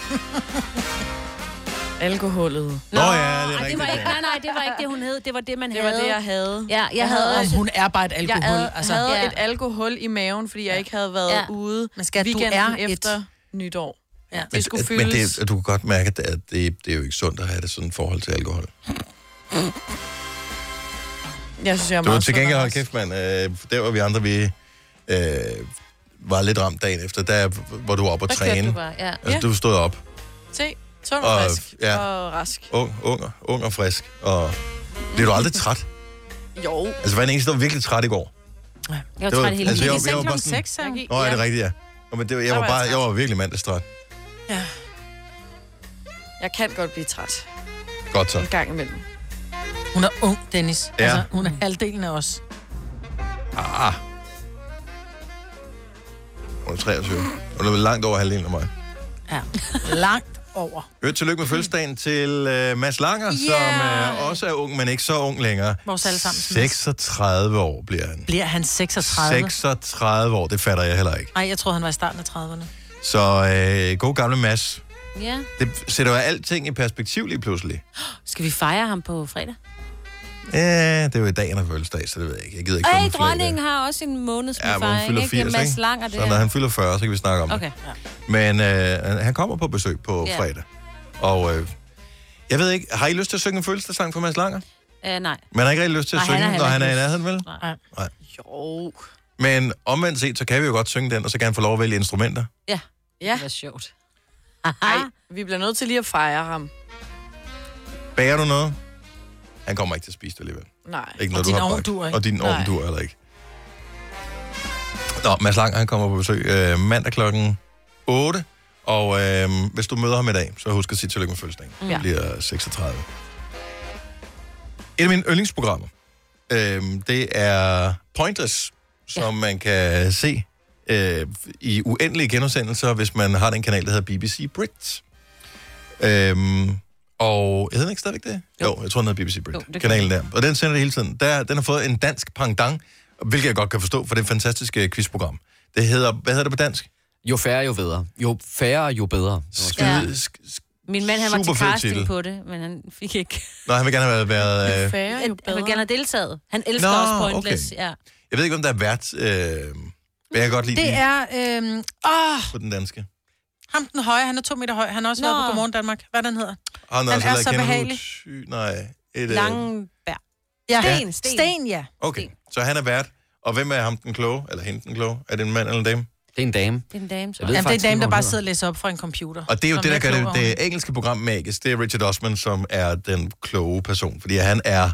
Alkoholet.
Nå, ja, det er
Ej, det
rigtigt.
var ikke, nej, nej, det var ikke det, hun hed. Det var det, man
Det var
havde.
det, jeg havde.
Ja, jeg, jeg havde,
havde-
også...
Hun er bare et alkohol.
Jeg havde,
altså.
altså, havde
Ja.
ja. et alkohol i maven, fordi jeg ikke havde været
Ja.
ja. ude
Men skat, du
weekenden
er et-
efter nytår.
Ja.
Men-
Det skulle
at-
fyldes.
Men det, du kan godt mærke, at det, det er jo ikke sundt at have det sådan forhold til alkohol.
Jeg synes, jeg er
Du var
meget
til gengæld,
sund,
hold kæft, mand. Øh, der var vi andre, vi øh, var lidt ramt dagen efter, der hvor du var oppe og
Der kørte
træne.
du bare, ja.
Altså,
Ja.
du stod op,
Anders. Se, sund og,
Og-
frisk.
ja.
Og rask.
ung, ung, og- ung og frisk, og blev du aldrig træt?
Jo.
Altså, jeg var den eneste, der var virkelig træt i går.
Jeg var
Det var-
træt hele
altså,
tiden.
jeg- jeg var bare sådan- Nå, er det rigtigt, ja. Nå, men det, var-
Så
jeg, var
var jeg
bare, jeg
træt.
var virkelig mandagstræt.
Jeg kan godt blive træt
Godt så.
en gang imellem.
Hun er ung, Dennis.
Ja.
Altså, hun er halvdelen af os.
Ah. Hun er 23. Hun er vel langt over halvdelen af mig. Mm.
Ja. Langt over.
Øvrigt tillykke med fødselsdagen til uh, Mads Langer, yeah. som uh, også er ung, men ikke så ung længere.
Vores alle sammen.
36 år bliver han.
Bliver han 36?
36 år, det fatter jeg heller ikke.
Nej, jeg troede, han var i starten af 30'erne.
Så øh, god gamle Mads.
Ja.
Det sætter jo alting i perspektiv lige pludselig.
Skal vi fejre ham på fredag?
Ja, det er jo i dag, han har fødselsdag, så det ved jeg ikke. Jeg gider ikke
Ej,
sådan flække.
dronningen har også en måneds
Ja,
ja,
hvor hun
fejring,
fylder
ikke?
80, ikke?
Med Mads Lang og det
Så når
her.
han fylder 40, så kan vi snakke om
Okay. Ja.
det. Men øh, han kommer på besøg på
Ja.
fredag. Og øh, jeg ved ikke, har I lyst til at synge en fødselsdagssang for Mads Langer?
Uh, nej.
Man har ikke rigtig lyst til at
Nej,
synge,
han har
når han
heller
er i
ikke
nærheden, vel?
Nej.
Nej.
Jo.
Men omvendt set, så kan vi jo godt synge den, og så kan han få lov at vælge instrumenter.
Ja.
Ja. Det
er sjovt.
Ej, vi bliver nødt til lige at fejre ham.
Bager du noget? Han kommer ikke til at spise det alligevel.
Nej.
Ikke
Og
noget,
din
du har
ovn
bagt.
duer ikke.
Og din ovn
Nej.
duer heller ikke. Nå, Mads Lang, han kommer på besøg øh, mandag klokken 8. Og øh, hvis du møder ham i dag, så husk at sige tillykke med fødselsdagen.
Mm.
Mm.
Ja.
Det bliver 36. Et af mine yndlingsprogrammer, øh, det er Pointers, som ja. man kan se øh, i uendelige genudsendelser, hvis man har den kanal, der hedder BBC Brit. Øhm, og hedder den ikke stadigvæk det? Jo, jo jeg tror, den hedder BBC Brit,
Jo, det
jo,
kan
kanalen der.
den.
Og den sender det hele tiden. Der, den har fået en dansk pangdang, hvilket jeg godt kan forstå, for det er et fantastisk øh, quizprogram. Det hedder, hvad hedder det på dansk?
Jo færre, jo bedre. Jo færre, jo bedre.
Skide,
Ja.
sk-
Min mand, han var til
Superfed
casting
titel.
på det, men han fik ikke...
nej, han vil gerne have været... været øh,
Færre, jo bedre. Han ville gerne have deltaget. Han elsker
Nå,
Nå, også Pointless.
okay.
Okay. Ja.
jeg ved ikke, om der er vært... Øh, men jeg kan godt lide
Det
det
er... Øhm, åh,
på den danske.
ham den høje, han er to meter høj. Han har også Nå. været på Godmorgen Danmark. Hvad den hedder?
Han,
Han
altså
er
heller
så
ikke Henrik
behagelig.
Sy- Nej, et, øh,
Langebær.
Ja.
Sten,
Sten. Sten, ja.
Okay, så han er vært. Og hvem er ham den kloge? Eller hende den kloge? Er det en mand eller en dame?
Det er en dame.
Det er en dame,
Jeg
Jamen,
ved
det er en
faktisk
dame,
ikke,
der
hvad
bare
hun
sidder og læser op fra en computer.
Og det er jo
Som
det, der
jeg
gør det,
klog
det engelske program magisk. Det er Richard Osman, som er den kloge person. Fordi han er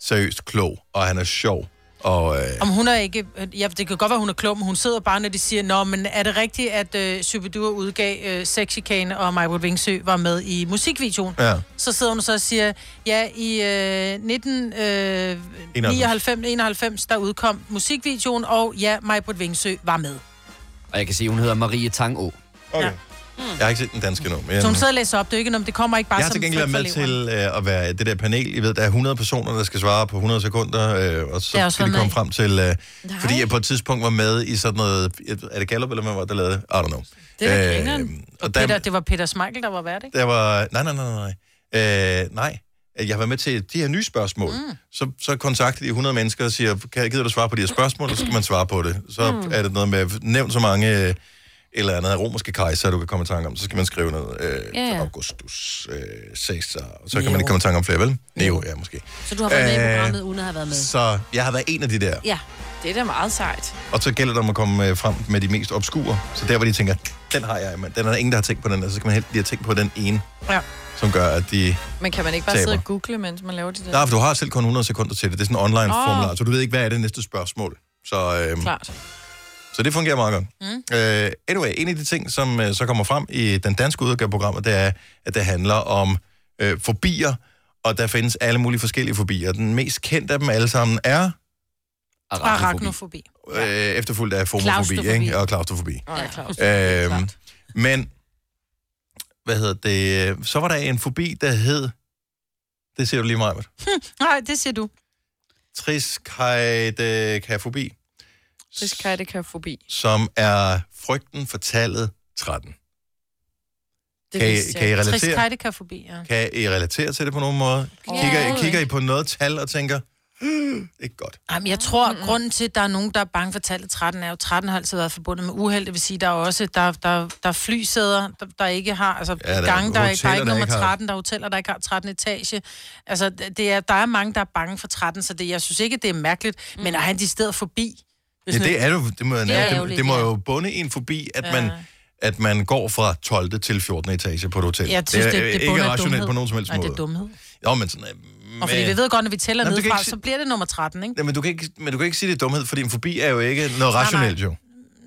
seriøst klog, og han er sjov. Og øh,
over. Om hun er ikke... øh, Ja, det kan godt være, hun er klog, men hun sidder bare, når de siger, Nå, men er det rigtigt, at øh, Superdur udgav øh, Sexikane og Michael Wingsø var med i musikvideoen?
Ja.
Så sidder hun så og siger, ja, i øh, 1991, 91, der udkom musikvideoen, og ja, Majbrit Vingsø var med.
Og jeg kan se, hun hedder Marie Tangå.
Okay. Ja. jeg har ikke set den danske nu. Men,
Så hun sidder og læser op, det er jo ikke noget, det kommer ikke bare
jeg har
som
til gengæld været
frit
med
fra leveren.
til øh, at være det der panel. I ved, der er 100 personer, der skal svare på 100 sekunder, øh, og
Det er
så
også
skal de komme
været med i.
frem til... Øh, fordi jeg på et tidspunkt var med i sådan noget... Er det Gallup, eller hvad var det, der lavede? I don't know.
Det er
Øh,
da grineren.
og
og
der-
Peter, det var Peter Smeichel, der var vært, ikke?
Der var... Nej, nej, nej, nej, nej. Øh, nej. Jeg har været med til de her nye spørgsmål. Mm. Så, så kontakter de 100 mennesker og siger, kan, gider du svare på de her spørgsmål, og så skal man svare på det. Så
Mm.
mm. er det noget med, nævn så mange øh, eller andet romerske kejser, du kan komme i tanke om. Så skal man skrive noget. Øh,
Ja, ja.
Augustus, øh, Caesar, og så kan man ikke komme i tanke om flere, vel? Neo, ja, måske.
Så du har været med i
Øh,
programmet, uden at have været med.
Så jeg har været en af de der.
Ja.
Det er da meget sejt.
Og så gælder det om at komme øh, frem med de mest obskure. Så der, hvor de tænker, den har jeg, men den er der ingen, der har tænkt på den, og så skal man helt lige have tænkt på den ene,
Ja.
som gør, at de...
Men kan man ikke bare
Taber.
sidde og google, mens man laver det der?
Nej, for du har selv kun 100 sekunder til det. Det er sådan en online
Åh.
formular, så du ved ikke, hvad er det næste spørgsmål. Så, øhm,
Klart.
så det fungerer meget godt. Mm. Øh, anyway, en af de ting, som øh, så kommer frem i den danske udgave af programmet, det er, at det handler om øh, fobier, og der findes alle mulige forskellige fobier. Den mest kendte af dem alle sammen er...
Arachnofobi.
Øh, efterfulgt af fomofobi,
Klaustrofobi.
ikke? Og klaustrofobi.
Ja, Claus.
Øhm, men, hvad hedder det? Så var der en fobi, der hed... Det ser du lige meget,
Hm,
Nej, det siger du.
Triskaidekafobi,
Det skal det kan forbi.
som er frygten for tallet 13.
Det
Kan I-
vidste jeg
kan I
ikke.
relatere?
Triskaidekafobi, ja.
Kan I relatere til det på nogen måde?
Ja,
Kigger,
overhovedet
kigger I på noget tal og tænker, "Hmm, ikke godt.
Jamen, jeg tror, at grunden til, at der er nogen, der er bange for tallet 13, er jo, 13 har altid været forbundet med uheld. Det vil sige, der er også der, der, der er flysæder, der, der ikke har... Altså,
Ja, der er
ja, gange, der, er, ikke- der
hoteller,
er ikke
der
nummer
ikke har-
13, der er hoteller, der ikke har 13 etage. Altså, det er, der er mange, der er bange for 13, så det, jeg synes ikke, det er mærkeligt.
Mm.
Men at han de steder forbi...
Ja,
sådan
det
lidt-
er jo, det må,
Det er
det, det,
ærgerligt,
det må
ja.
jo bunde en forbi, at
Ja.
man at man går fra 12. til 14. etage på et hotel.
Jeg synes, det, det,
øh,
det
ikke
bunder af
rationelt
dumhed.
på nogen som helst
Nej,
måde.
det er dumhed.
Jo, men sådan... øh,
Og fordi
men-
vi ved godt, når vi tæller
Jamen, du kan
nedefra,
ikke
så bliver det nummer 13, ikke?
Ja, men, du kan ikke, men du kan ikke sige, det er dumhed, fordi en fobi er jo ikke noget
Nej, Mm.
rationelt, jo.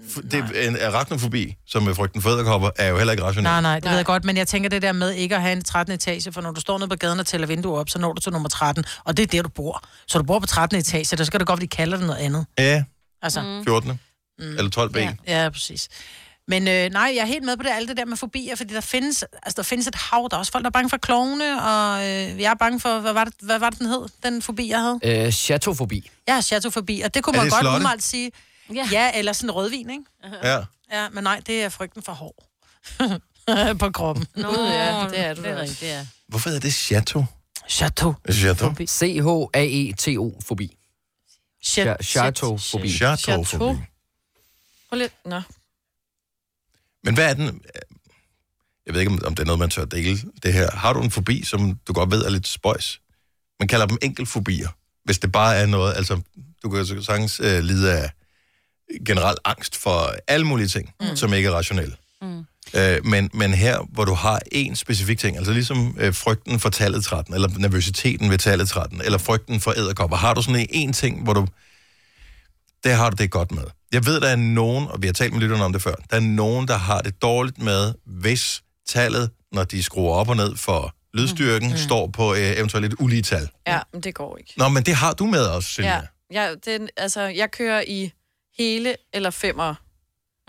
F- Det, en arachnofobi, som er frygten for æderkopper, er jo heller ikke rationelt.
Nej, nej, det ved jeg godt, men jeg tænker det der med ikke at have en 13. etage, for når du står nede på gaden og tæller vinduer op, så når du til nummer 13, og det er der, du bor. Så du bor på 13. etage, der skal det godt, at de kalder det noget andet.
Ja,
Altså,
14. Mm. Eller 12 b. Ja.
ja, præcis. Men øh, nej, jeg er helt med på det, alt det der med fobier, fordi der findes, altså, der findes et hav, der er også folk, der er bange for klovne, og øh, jeg er bange for, hvad var, det, hvad var det, den hed, den fobi, jeg havde?
Øh, chateaufobi.
Jeg har chatofobi, og det
Er
kunne man
det
godt
slotte?
umiddelbart sige, ja. ja, eller sådan rødvin, ikke?
Ja.
Ja, men nej, det er frygten for hår på kroppen.
Nå,
Gud, ja, det er du
det er
da.
rigtigt, ja.
Hvorfor hedder det chateau?
Chateau.
Chateau.
E C-H-A-E-T-O-fobi.
Chat-
Chateau-fobi.
Chateau.
Prøv lidt. Nå.
Men hvad er den? øh, Jeg ved ikke, om- om det er noget, man tør dele det her. Har du en fobi, som du godt ved er lidt spøjs? Man kalder dem enkelfobier. Hvis det bare er noget, altså du kan jo så sagtens øh, lide af generel angst for alle mulige ting, mm. som ikke er rationelle.
Mm.
Øh, men, men her, hvor du har en specifik ting, altså ligesom øh, frygten for tallet 13, eller nervøsiteten ved tallet 13, eller frygten for æderkopper, har du sådan en ting, hvor du... Det har du det godt med. Jeg ved, der er nogen, og vi har talt med lytterne om det før, der er nogen, der har det dårligt med, hvis tallet, når de skruer op og ned for lydstyrken, mm. står på øh, eventuelt et ulige tal.
Ja, men det går ikke.
Nå, men det har du med også, Silvia.
Ja, ja den, altså, jeg kører i hele eller femmer.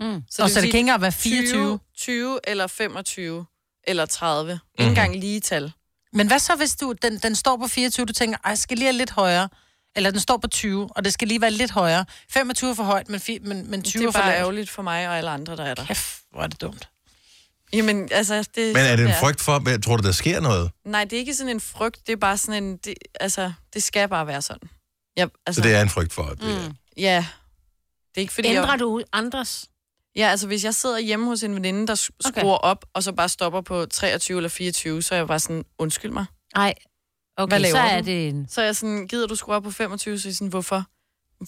Mm.
vil
Og så det
sige
kan ikke engang være 24.
20, 20 eller 25 eller 30. Mm-hmm.
Mhm.
Ikke engang lige tal.
Men hvad så, hvis du, den, den står på 24, du tænker, ej, jeg skal lige have lidt højere. Eller den står på 20, og det skal lige være lidt højere. 25 er for højt, men, fi, men, men 20
det er
for
bare
lavt.
ærgerligt for mig og alle andre, der er der.
Kæft, hvor er det dumt.
Jamen, altså... Det,
Men er det en
ja.
frygt for, hvad- tror du, der sker noget?
Nej, det er ikke sådan en frygt. Det er bare sådan en... Det, altså, det skal bare være sådan. Ja,
Altså,
altså,
så det er en frygt for, at
Mm. Ja. Det er ikke fordi...
Ændrer
jeg...
du andres?
Ja, altså hvis jeg sidder hjemme hos en veninde, der sk-
Okay.
skruer op, og så bare stopper på 23 eller 24, så er jeg bare sådan, undskyld mig.
Nej. Okay,
Hvad laver
så er
du?
det en...
Så er jeg sådan, gider du skrue op på 25? Så er jeg sådan, hvorfor?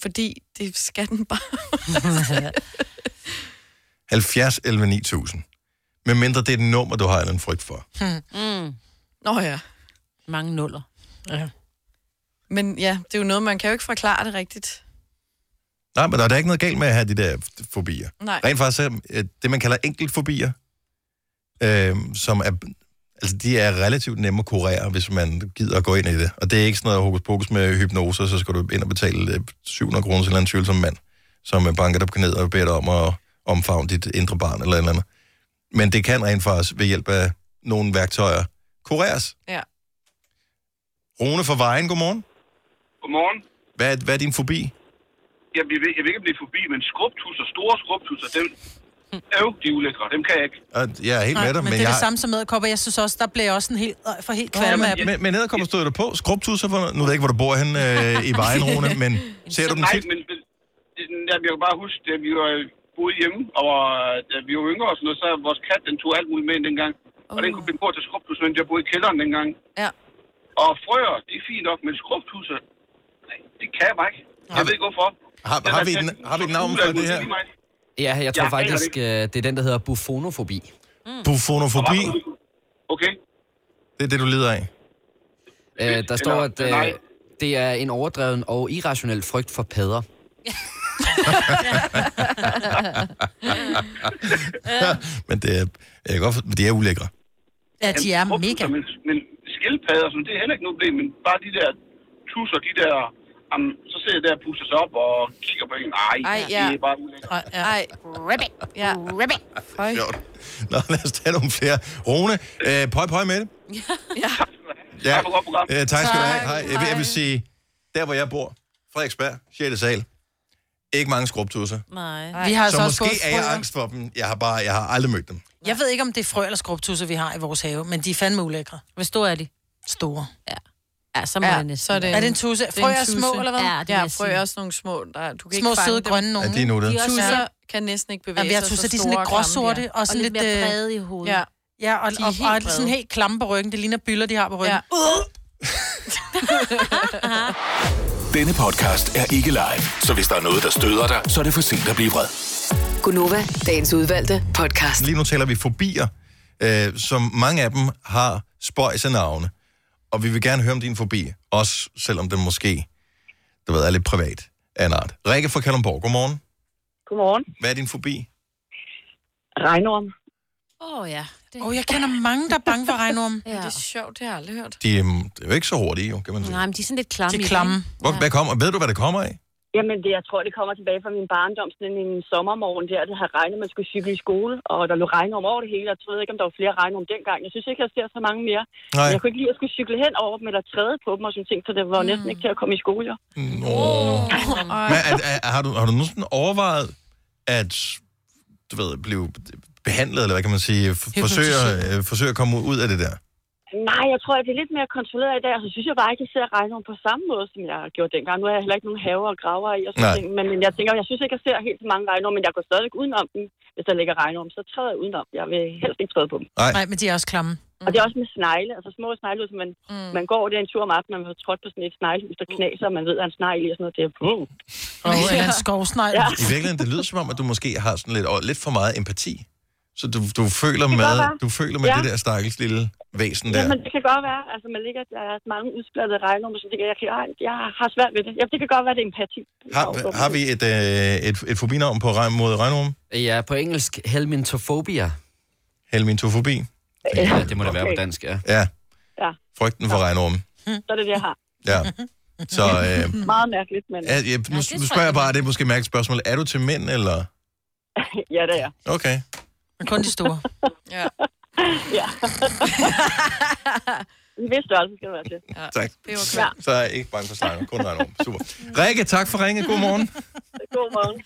Fordi det skal den bare.
Mm. 70 11 9000. Men mindre det er et nummer, du har en eller anden frygt for.
Mm.
Nå ja.
Mange nuller.
Ja.
Men ja, det er jo noget, man kan jo ikke forklare det rigtigt.
Nej, men der er da ikke noget galt med at have de der fobier.
Nej.
Rent faktisk er øh, det, man kalder enkeltfobier, øh, som er, altså, de er relativt nemme at kurere, hvis man gider at gå ind i det. Og det er ikke sådan noget hokus pokus med hypnose, så skal du ind og betale øh, 700 kroner til en eller anden tvivlsom mand, som øh, banker dig på knæet og beder dig om at omfavne dit indre barn eller et eller andet. Men det kan rent faktisk ved hjælp af nogle værktøjer kureres.
Ja.
Rune fra Vejen, godmorgen.
Godmorgen.
Hvad, er- hvad er din fobi?
Jeg vil, jeg vil ikke blive forbi, men skrubtusser, store skrubtusser, dem, øv, de er ulækre. Dem kan jeg ikke.
Og Jeg er helt med dig,
men, men det er
jeg...
det samme som æderkopper. Jeg synes også, der bliver jeg også en helt, øh, for helt kvalm af dem.
Men, men æderkopper stod der på. Skrubtusser, for, nu ved jeg ikke, hvor du bor henne øh, i vejen, Rune, men ser du dem
Nej,
tit?
men men- det- jeg kan bare huske, da vi var boede hjemme, og øh, da vi var yngre og sådan noget, så vores kat, den tog alt muligt med ind dengang. Og den kunne blive på til skrubtusser, mens jeg boede i kælderen dengang.
Uh. Ja.
Og frøer, det er fint nok, men skrubtusser, nej, det kan jeg bare ikke. Jeg ved ikke hvorfor.
Har, har, vi, en, har vi et navn for det her?
Ja, jeg tror
Jeg
jeg
aner
faktisk, øh, det er den, der hedder bufonofobi.
Mm.
Bufonofobi,
Okay.
det er det, du lider af.
Øh, der står, at øh, det er en overdreven og irrationel frygt for padder.
men det er, jeg kan godt, for- de er ulækre.
Ja, de er mega.
Men, men skildpadder, sådan, det er heller ikke noget problem, men bare de der tusser, de der... Am, så sidder jeg der og puster sig op og kigger på en. Ej,
Ej,
det
ja.
er bare ulækkert.
Ej, ja.
Ej. Ribbit. Ja. Ribbit.
Sjovt. Nå, lad os tage nogle flere. Rune, øh, pøj, pøj med det.
Ja.
Ja. Øh, tak skal du have. Hej. Jeg vil, jeg vil sige, der hvor jeg bor, Frederiksberg, 6. sal, ikke mange skrubtusser.
Nej. Vi har
så
altså også
måske
gået
er jeg
frøer.
angst for dem. Jeg har bare, jeg har aldrig mødt dem.
Jeg ved ikke, om det er frø eller skrubtusser, vi har i vores have, men de er fandme ulækre.
Hvor store er de?
Store.
Ja. Ja, så må ja, jeg næsten.
så er det
Er det en tusse?
det
Frøer
en
er små,
tusse.
eller hvad?
Ja,
Ja,
det ja
frøer
frø er
er
også nogle små. Der, du kan
Små,
ikke fange
søde
dem.
grønne nogen, Ja, de er ikke? nuttede. De er også-
Tusser kan næsten ikke bevæge
Ja, vi har
sig.
tusser,
så
de er sådan lidt
store og klamme
gråsorte,
de er.
og sådan lidt, øh,
Ja.
Ja, og,
De er
og,
helt
og, og
brede.
sådan helt klamme på ryggen. Det ligner byller, de har på ryggen. Uh! Ja.
Denne podcast er ikke live, så hvis der er noget, der støder dig, så er det for sent at blive vred.
Gunova, dagens udvalgte podcast.
Lige nu taler vi fobier, øh, som mange af dem har spøjs af navne. Og vi vil gerne høre om din fobi, også selvom den måske, du ved, er lidt privat af en art. Rikke fra Kalundborg, godmorgen.
Godmorgen.
Hvad er din fobi?
Regnorm.
Åh, oh, ja. Det...
Åh, oh, jeg kender mange, der er bange for regnorm.
ja. Det
er sjovt, det har jeg aldrig hørt.
De, øhm, det er jo ikke så hurtige, jo, kan man sige.
Nej, men de er sådan lidt klamme.
De
i
er
det,
klamme.
ikke?
Hvor, hvad kommer, ved du, hvad det kommer af?
Jamen, det, jeg tror, det kommer tilbage fra min barndom, sådan en sommermorgen der, det havde regnet, man skulle cykle i skole, og der lå regnorm over det hele, og jeg ved ikke, om der var flere regnorm dengang. Jeg synes ikke, jeg ser så mange mere.
Nej.
Jeg kunne ikke lide at skulle cykle hen over dem, eller træde på dem og sådan ting, så det var mm. næsten ikke til at komme i skole, jo.
Nå. Men, er, er, er, har, du, har du nogensinde overvejet, at du ved, blive behandlet, eller hvad kan man sige, f- forsøge, øh, forsøge at komme ud af det der?
Nej, jeg tror, at det er lidt mere kontrolleret i dag, og så synes jeg bare ikke, at jeg ser regnorm på samme måde, som jeg gjorde dengang. Nu har jeg heller ikke nogen haver og graver i, og sådan
Nej.
ting, men men jeg tænker, jeg synes ikke, at jeg ser helt så mange regnorm, men jeg går stadig udenom dem. Hvis der ligger regnorm, så træder jeg udenom. dem. Jeg vil helst ikke træde på dem.
Nej.
Nej, men de er også klamme.
Og det er også med snegle, altså små snegle, som man, mm. man går, det er en tur om aftenen, man har trådt på sådan et sneglehus, der knaser, og man ved, at en snegl i og sådan noget. Det er, mm.
Og en skovsnegl.
Ja.
I virkeligheden, det lyder som om, at du måske har sådan lidt, og lidt for meget empati. Så du, du føler
Det kan
med,
godt være.
du føler med
Ja.
ja. det der stakkels lille væsen der.
Jamen, det kan godt være. Altså, man ligger, der er mange udsplattede regnummer, så tænker jeg, jeg, kan, ej, jeg har svært ved det. Ja, det kan godt være, det er empati.
Har, har vi et, øh, et, et fobinavn på regn, mod regnorm?
Ja, på engelsk helmintophobia.
Helmintofobi?
Ja, det må det være på dansk, ja.
Ja,
Ja,
frygten for regnorm.
så er det det, jeg har.
Ja. Så øh,
Meget mærkeligt, men...
er, jeg, nu, nu spørger jeg bare, det er måske et mærkeligt spørgsmål. Er du til mænd, eller?
Ja, det er.
Okay.
Men kun de store.
Ja. ja. en vis størrelse skal det være til. Ja.
Tak.
Det var klart.
Så er jeg ikke bange for slanger, kun regnorm. Super. Rikke, tak for ringet. God morgen.
Godmorgen.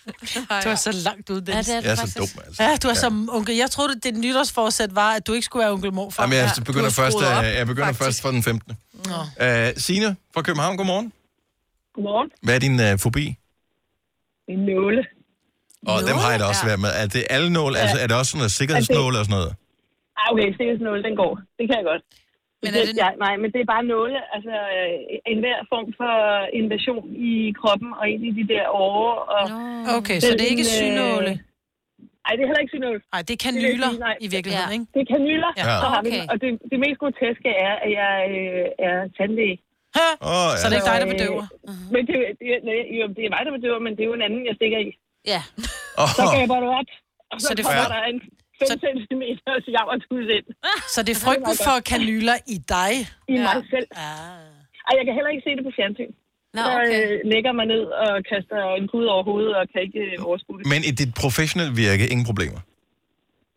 Du er så langt ude, Dennis.
Ja, det er du Jeg er så faktisk. dum, altså.
Ja, du er
Ja.
som onkel. Jeg troede, at det nytårsforsæt var, at du ikke skulle være onkel morfar.
Jamen, jeg altså
Ja.
begynder,
Du har
først,
skruet op,
øh, jeg begynder først fra den 15.
Nå.
Øh, Signe fra København, godmorgen.
Godmorgen.
Hvad er din øh, fobi?
En nåle.
Og dem har jeg da også været med. Er det alle nåle? Altså, er det også sådan noget sikkerhedsnåle og sådan noget?
Ah, okay, seriøst nåle, den går. Det kan jeg godt. Men er det... Ja, nej, men det er bare nåle. Altså, øh, enhver form for invasion i kroppen og ind i de der åre. Og
Okay, så det er ikke synåle?
Nej, det er heller ikke synåle.
Nej, det er
vil jeg
kanyler
sige, nej.
i virkeligheden,
ja.
ikke?
Det er kanyler,
Ja.
ja. så har vi.
Okay.
Og det, det mest groteske er, at jeg øh, er tandlæge.
Åh, ja.
Så det er ikke dig, der bedøver?
Øh, men det, det, nej, jo, det er mig, der bedøver, men det er jo en anden, jeg stikker i.
Ja.
Så gaber du op, og så,
Så
så
det
det kommer
får-
der en 5 så... cm jammertud ind.
Så det er frygten for kanyler i dig?
I mig selv. Ej, jeg kan heller ikke se det på fjernsyn.
Nå,
Nå, okay. Så øh, lægger man ned og kaster en kud over hovedet og kan ikke øh, overskue det.
Men i dit professionelle virke, ingen problemer.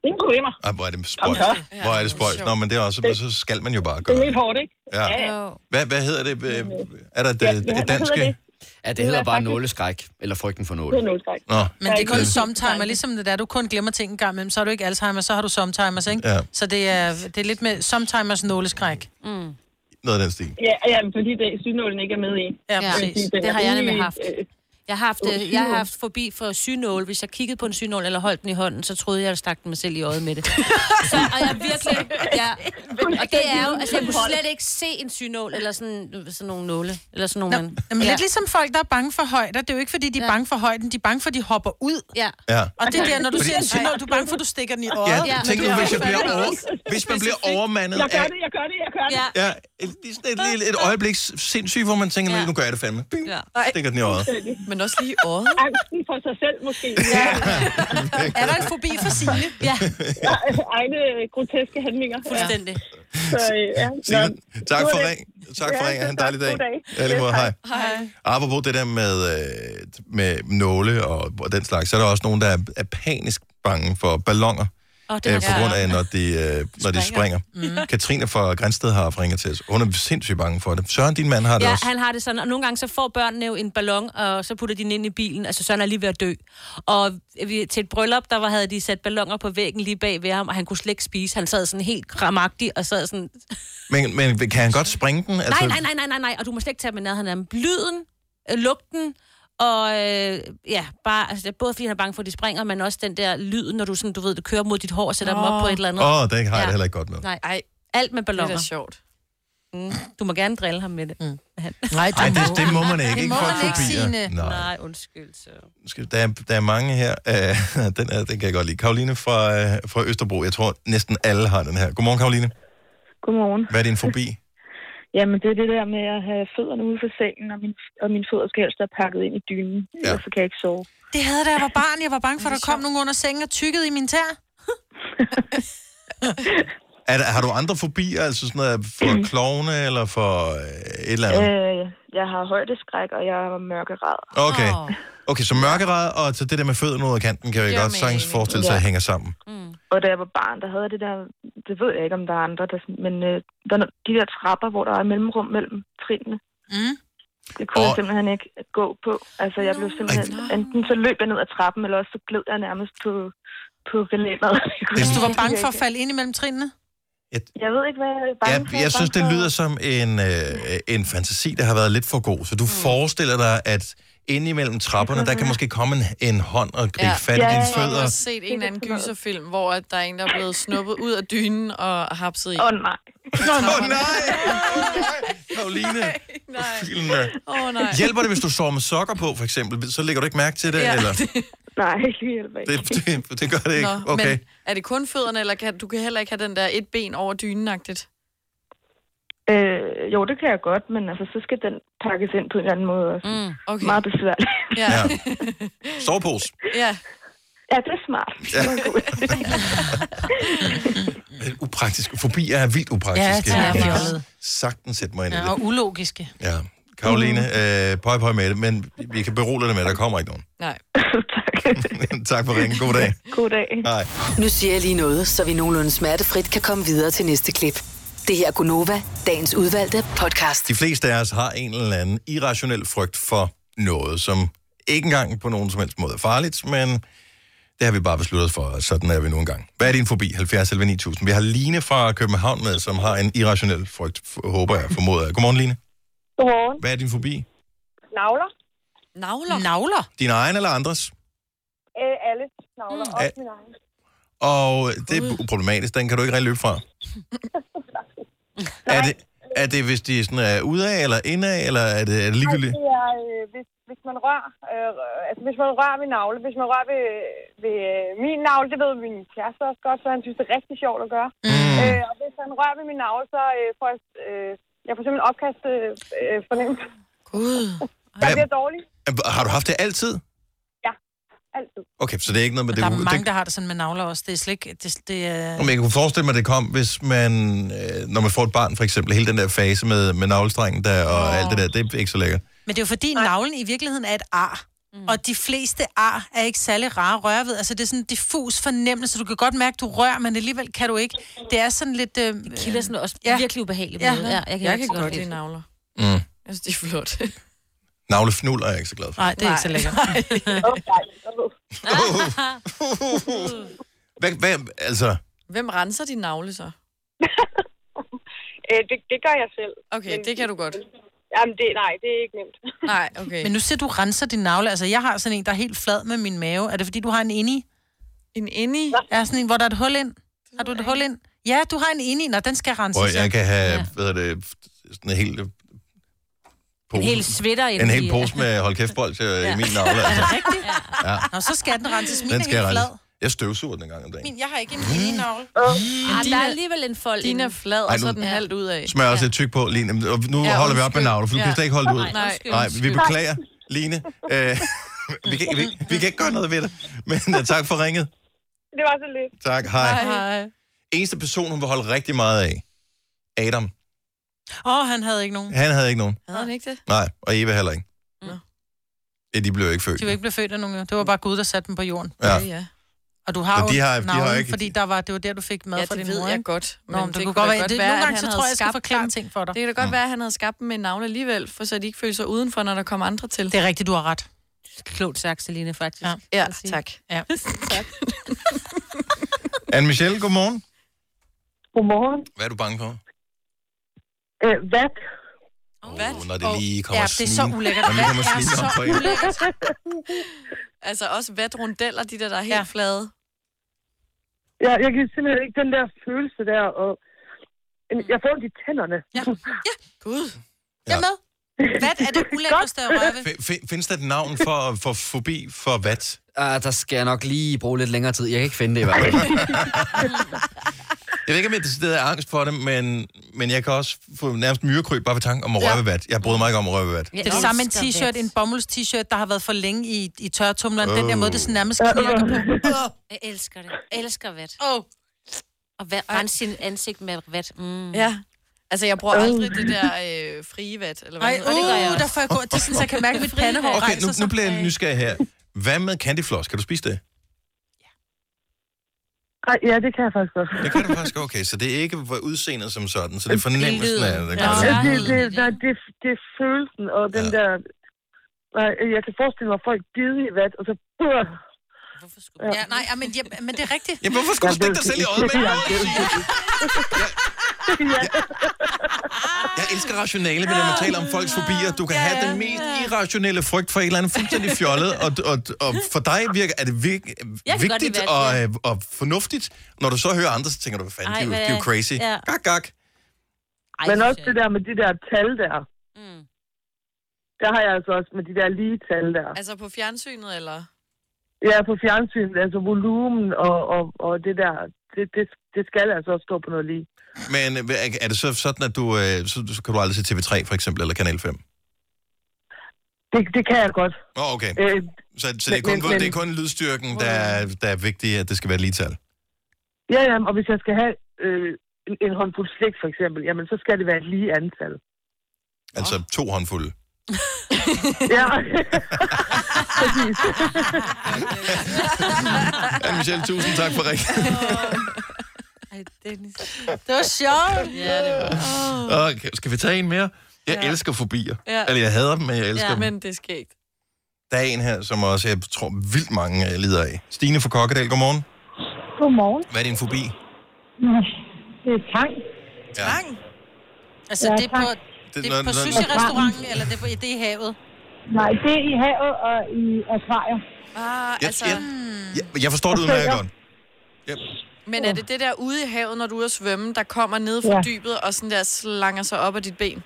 Ingen problemer.
Ej, hvor er det spøjt.
Kom
Hvor er det spøjt. Nå, men det er også, men så skal man jo bare
Det
gøre
er
det.
lidt hårdt, ikke?
Ja. Hvad, hvad hedder det? Øh, Er der det,
hvad
et
hedder
dansk?
det?
Ja, det
Det
hedder
er
bare
faktisk-
nåleskræk, eller frygten for nåle.
Det er nåleskræk.
Nå.
Men det er kun
Ja.
sometimer, ligesom det der, du kun glemmer ting en gang imellem, så har du ikke Alzheimer, så har du sometimer, ikke?
Ja.
Så det er, det er lidt med somtimers nåleskræk. Mm.
Noget af den stil.
Ja, ja men fordi det, sygnålen ikke er med i.
Ja, præcis. Det har jeg
Øh,
nemlig haft. Jeg har haft,
Åh,
øh, jeg har
synål.
haft forbi for synål. Hvis jeg kiggede på en synål eller holdt den i hånden, så troede jeg, at jeg stak den mig selv i øjet med det. Så, og jeg virkelig... Ja, og det er jo... Altså, jeg kunne slet ikke se en synål eller sådan, sådan nogle nåle. Eller sådan nogle... man-
Jamen, ja.
Ja.
lidt ligesom folk, der er bange for højder. Det er jo ikke, fordi de er bange for højden. De er bange for, at de hopper ud.
Ja.
Ja.
Og det er der, når du
Fordi-
ser en synål, du er bange for, at du stikker den i øjet.
Ja, tænk nu, hvis, jeg bliver over, hvis man bliver overmandet
Jeg gør
af...
det,
Jeg gør det, jeg gør det.
Ja.
Ja, et, lige sådan et, lille- et øjeblik sindssygt, hvor man tænker, ja. nu gør jeg det fandme. Bing,
Ja.
stikker den i øjet.
Men også lige året. Angsten for sig selv måske. Ja.
Er der en fobi for Signe?
Ja.
ja. Egne øh, groteske handlinger.
Fuldstændig.
Så, øh, ja.
Signe, tak
det var
for
det.
ring. Tak for
Ja,
ring.
selv
Ha' en dejlig
tak.
dag.
God dag.
Ja, lige måde.
Yes,
Hej.
Hej.
Apropos det der med, øh, med nåle og, og den slags, så er der også nogen, der er, er panisk bange for ballonger.
Åh, det
øh,
har
på
jeg
grund
hørt
af,
om.
når de, øh, når de springer. Mm. Katrine fra Grænsted har haft ringet til os. Hun er sindssygt bange for det. Søren, din mand har det
Ja,
også.
han har det sådan, og nogle gange så får børnene jo en ballon, og så putter de den ind i bilen, altså Søren er lige ved at dø. Og vi, til et bryllup, der var, havde de sat balloner på væggen lige bag ved ham, og han kunne slet ikke spise. Han sad sådan helt kramagtig, og sad sådan,
Men, men kan han godt springe den?
altså... nej, nej, nej, nej, nej, nej, og du må slet ikke tage med ned, han er lyden, øh, lugten, og øh, ja, bare, altså, det er både fordi han er bange for, at de springer, men også den der lyd, når du sådan, du ved, det kører mod dit hår og sætter oh. dem op på et eller andet.
Åh, det har jeg det heller ikke godt med.
Nej, Ej. alt med balloner.
da
sjovt. Mm. Du må gerne drille ham med det. Mm.
Nej,
Ej, det, det må man ikke.
Det
ikke
må
for
man ikke,
fobier.
Signe.
Nej.
Nej, undskyld. Så.
Skal- Der, er, der er mange her. Øh, den, er, den kan jeg godt lide. Karoline fra, øh, fra Østerbro. Jeg tror, næsten alle har den her. Godmorgen, Karoline.
Godmorgen.
Hvad er din fobi?
Jamen, det er det der med at have fødderne ude for sengen, og, min, og mine fødder skal helst være pakket ind i dynen, ja. ellers så kan jeg ikke sove.
Det havde jeg, da jeg var barn. Jeg var bange for, at der kom nogen under sengen og tykkede i min tær.
Er der, har du andre fobier, altså sådan noget for klovne eller for øh, et eller andet?
Øh, jeg har højdeskræk, og jeg har mørkeræd.
Okay. Okay, så mørkeræd og så det der med fødderne ud af kanten, kan jeg
Giver
godt
mening.
sagtens forestille sig,
Ja.
at hænger sammen.
Og da jeg var barn, der havde jeg det der, det ved jeg ikke, om der er andre, der, sådan- men øh, der, er no- de der trapper, hvor der er mellemrum mellem trinene.
Mm.
Det kunne og... jeg
Og-
simpelthen ikke gå på. Altså, jeg blev simpelthen... Enten så løb jeg ned ad trappen, eller også så gled jeg nærmest på, på gelænderet.
Hvis du var bange for at falde ind imellem trinene?
Jeg ved ikke, hvad jeg er bange
Jeg,
for.
jeg synes, det lyder som en, øh, en fantasi, der har været lidt for god. Så du mm. forestiller dig, at inde imellem trapperne, der kan måske komme en, en hånd og gribe ja. fat i dine
Jeg har
fødder.
også set en eller anden gyserfilm, hvor at der er en, der er blevet snuppet ud af dynen og hapset i.
Åh, oh, nej.
Åh, oh, nej! Karoline, filmen er-
Åh, nej.
Hjælper det, hvis du sover med sokker på, for eksempel? Så lægger du ikke mærke til det?
Ja,
eller?
det-
Nej, det hjælper ikke.
Det, det, det gør det ikke.
Nå,
okay.
men er det kun fødderne, eller kan, du kan heller ikke have den der et ben over dynen-agtigt?
Øh, jo, det kan jeg godt, men altså, så skal den pakkes ind på en anden måde også. Mm,
okay.
Meget besværligt.
Ja.
Ja. Sovepose.
ja.
Ja, det er smart.
Ja.
Det var en god idé.
Upraktisk. Fobier er vildt upraktiske.
Ja, det er
Jeg kan
fjollet.
Sagtens sætte mig ind i
Ja,
det.
og ulogiske.
Ja. Karoline, øh, pøj, pøj med det, men vi kan berolige dig med, at der kommer ikke nogen.
Nej.
tak for ringen. God dag.
God dag.
Hej.
Nu siger jeg lige noget, så vi nogenlunde smertefrit kan komme videre til næste klip. Det her er Gunova, dagens udvalgte podcast.
De fleste af os har en eller anden irrationel frygt for noget, som ikke engang på nogen som helst måde er farligt, men det har vi bare besluttet os for, og sådan er vi nu engang. Hvad er din fobi? 70 11 9000. Vi har Line fra København med, som har en irrationel frygt, f- håber jeg, formoder jeg. Godmorgen, Line.
Godmorgen.
Hvad er din fobi?
Navler.
Navler?
Navler?
Din egen eller andres?
Øh, alle navler. Mm. Også
Al-
min egen.
Og det er problematisk, den kan du ikke rigtig løbe fra. Er det, er det, hvis de sådan er udad eller indad, eller er det, er det ligegyldigt?
Ej, det er, øh, hvis, hvis man rører, øh, rø- altså hvis man rører ved navle, hvis man rører ved, ved øh, min navle, det ved min kæreste også godt, så han synes, det er rigtig sjovt at gøre. Mm. Øh, og hvis han rører ved min navle, så øh, får jeg, øh, jeg får simpelthen opkast øh, øh, fornemmelse.
Gud.
Jeg bliver dårlig.
Har du haft det altid?
Ja, altid.
Okay, så det er ikke noget med
Men der
det.
er
det-
mange, der har det sådan med navler også. Det er slet ikke... Det, det er...
Om jeg kunne forestille mig, at det kom, hvis man, øh, når man får et barn for eksempel, hele den der fase med, med navlestrengen der og alt det der, det er ikke så lækkert.
Men det er jo fordi, navlen i virkeligheden er et ar. Mm. Og de fleste ar er ikke særlig rare at røre ved. Altså, det er sådan en diffus fornemmelse. Du kan godt mærke, du rører, men alligevel kan du ikke. Det er sådan lidt... Øh, det
kilder sådan også virkelig ubehageligt
Ja.
måde. Ja, jeg kan
Jeg
rigtig
kan godt
godt
lide
lide
navler.
Mm.
Jeg synes, det er flot.
Navlefnul er jeg ikke så glad for.
Nej, det er ikke så lækkert.
Hvad, hvad, altså,
Hvem renser din navle så?
Øh, det, det gør jeg selv.
Okay, det kan du godt.
Jamen, det, nej, det er ikke nemt.
Nej, okay.
Men nu ser du renser din navle. Altså, jeg har sådan en, der er helt flad med min mave. Er det fordi, du har en indi?
En indi?
Ja, sådan en, hvor der er et hul ind. Har du et hul ind? Ja, du har en indi. Nå, den skal renses.
hvor
ja.
jeg kan have, hvad er det, sådan en hel pose,
En hel sweater i
en
den
hel
i-
pose med hold kæft bold til, i min navle. Altså.
Rigtigt?
Ja.
Nå, så skal den renses. Min
Den
er
skal jeg
helt flad.
rense. Jeg støvsuger den en gang om dagen.
Min, jeg har ikke en indi navle.
Ah, der er alligevel en fold
Din er flad,
Ej,
og så
nu-
er den halvt ud af.
Smør også lidt tyk på, Line. Og nu
Ja,
ja, holder vi op med
undskyld.
navle, for du ja.
Ja.
kan slet ikke holde det ud.
Nej, undskyld,
Nej vi
undskyld.
beklager, Line. Øh, vi, kan, vi, vi kan ikke gøre noget ved det. Men uh, tak for ringet.
Det var så lidt.
Tak, hej.
Hej.
Eneste person, hun vil holde rigtig meget af, Adam.
Åh, oh, han havde ikke nogen.
Han havde ikke nogen.
Havde han ikke det?
Nej, og Eva heller ikke.
Nå.
Ja, de blev jo ikke født.
De var ikke blevet født af nogen. jo. Det var bare Gud, der satte dem på jorden.
Ja.
ja.
Og du har
Men de
jo
har- de har
navlen,
ikke-
fordi der var, det var der, du fik mad
Ja,
fra
det
din
ved
mor.
jeg
ikke?
godt,
Nå,
men
men det,
det
kunne
kunne
godt
da
være,
godt
det,
være,
nogle
at
gange,
han
så
havde
tror jeg, jeg skal
skabt-
forklare ting for dig.
Det kan da godt være, at han havde skabt dem med en navle alligevel, for så de ikke følte sig udenfor, når der kom andre til.
Det er rigtigt, du har ret.
Klogt sagt, Celine, faktisk. Ja,
ja tak.
Ja.
Anne-Michelle, godmorgen.
Godmorgen.
Hvad er du bange for?
Øh, hvad?
Oh, når det lige kommer
Ja, det er så
snigende-
ulækkert.
Når det lige kommer
Det er
snigende op
så
på en.
ulækkert. altså også vatrundeller, de der, der er helt flade.
Ja, jeg kan simpelthen ikke den der følelse der, og jeg får de tænderne.
Ja, ja. Gud. Jeg er med. Hvad er det ulækkerste at røre ved?
F- f- findes der et navn for, for fobi for vat?
Ah, der skal jeg nok lige bruge lidt længere tid. Jeg kan ikke finde det i hvert fald.
Jeg ved ikke, om jeg decideret er angst for det, men, men jeg kan også få nærmest myrekryb bare ved tanken om at røre ved vat. Jeg bryder mig ikke om at røre ved vat.
Det er det samme med en t-shirt, en bomulds-t-shirt, der har været for længe i, i tørretumleren. Den der
Åh.
måde, det sådan nærmest knirker på.
Jeg elsker det. Jeg elsker vat.
Oh.
Og vat, rense sin ansigt med vat. Mm.
Ja. Altså, jeg bruger aldrig det der øh, frie vat, eller hvad
Nej,
det hedder. Det gør jeg
uh,
også.
der får jeg gå. Det er sådan, så jeg kan mærke, at mit pandehår
Okay,
rejser
nu, nu bliver jeg nysgerrig her. Hvad med candyfloss? Kan du spise det?
Ej, ja, det kan jeg faktisk godt.
Det kan du faktisk okay, så det er ikke hvor udseendet som sådan, så det er fornemmelsen af det. der gør
Ja,
det.
det, det, nej, det, det er følelsen, og den der... Nej, jeg kan forestille mig, at folk bide i vat, og så... Uh,
Hvorfor skulle ja. ja, nej, ja, men, ja, men det er rigtigt.
Jamen, hvorfor skulle du stikke dig selv i øjet med noget? Jeg elsker rationale, men når man taler om folks fobier, du kan have den mest irrationelle frygt for et eller andet fuldstændig fjollet, og, og, og for dig virker, er det virk,
Jeg kan godt
vigtigt
lide
og, øh,
valg,
og fornuftigt. Når du så hører andre, så tænker du, hvad fanden,
Ej,
Ej, de, er jo-
hvad-
de er jo crazy.
ja.
Ja. Gak, gak.
Men også det der med de der tal der.
Mm.
Der har jeg altså også med de der lige tal der.
Altså på fjernsynet, eller?
Ja, på fjernsyn, altså volumen og, og, og det der, det, det, det skal altså også stå på noget lige.
Men øh, er- er det så sådan, at du, øh, så, så kan du aldrig se TV3 for eksempel, eller Kanal 5?
Det, det kan jeg godt.
Åh, oh, okay.
Øh,
Så, så det, er kun,
men- men-
det er kun lydstyrken, der, er- der er vigtig, at det skal være et lige tal.
Ja, ja, og hvis jeg skal have øh, en, en håndfuld slik for eksempel, jamen så skal det være et lige antal.
Altså to håndfulde.
ja. Præcis.
Ja, Michelle, tusind tak for ringen.
Det var sjovt. Ja, det var.
Okay, skal vi tage en mere? Jeg ja. elsker fobier.
Ja.
Eller jeg hader dem, men jeg elsker ja, dem.
men det er skægt.
Der er en her, som også jeg tror vildt mange øh, lider af. Stine fra Kokkedal, godmorgen.
Godmorgen.
Hvad er din fobi?
Nå, Det er tang.
Tang? Altså,
Ja,
det er på,
tak.
det
Det-
er
når-
på
når-
sushi-restauranten, eller det er, på, det er i havet?
Nej, det er i havet og i akvarier.
Ah,
Jeg,
altså,
jeg, jeg, jeg forstår det udmærket godt.
men er det det der ude i havet, når du er ude at svømme, der kommer ned fra
Ja.
dybet og sådan der slanger sig op af dit ben?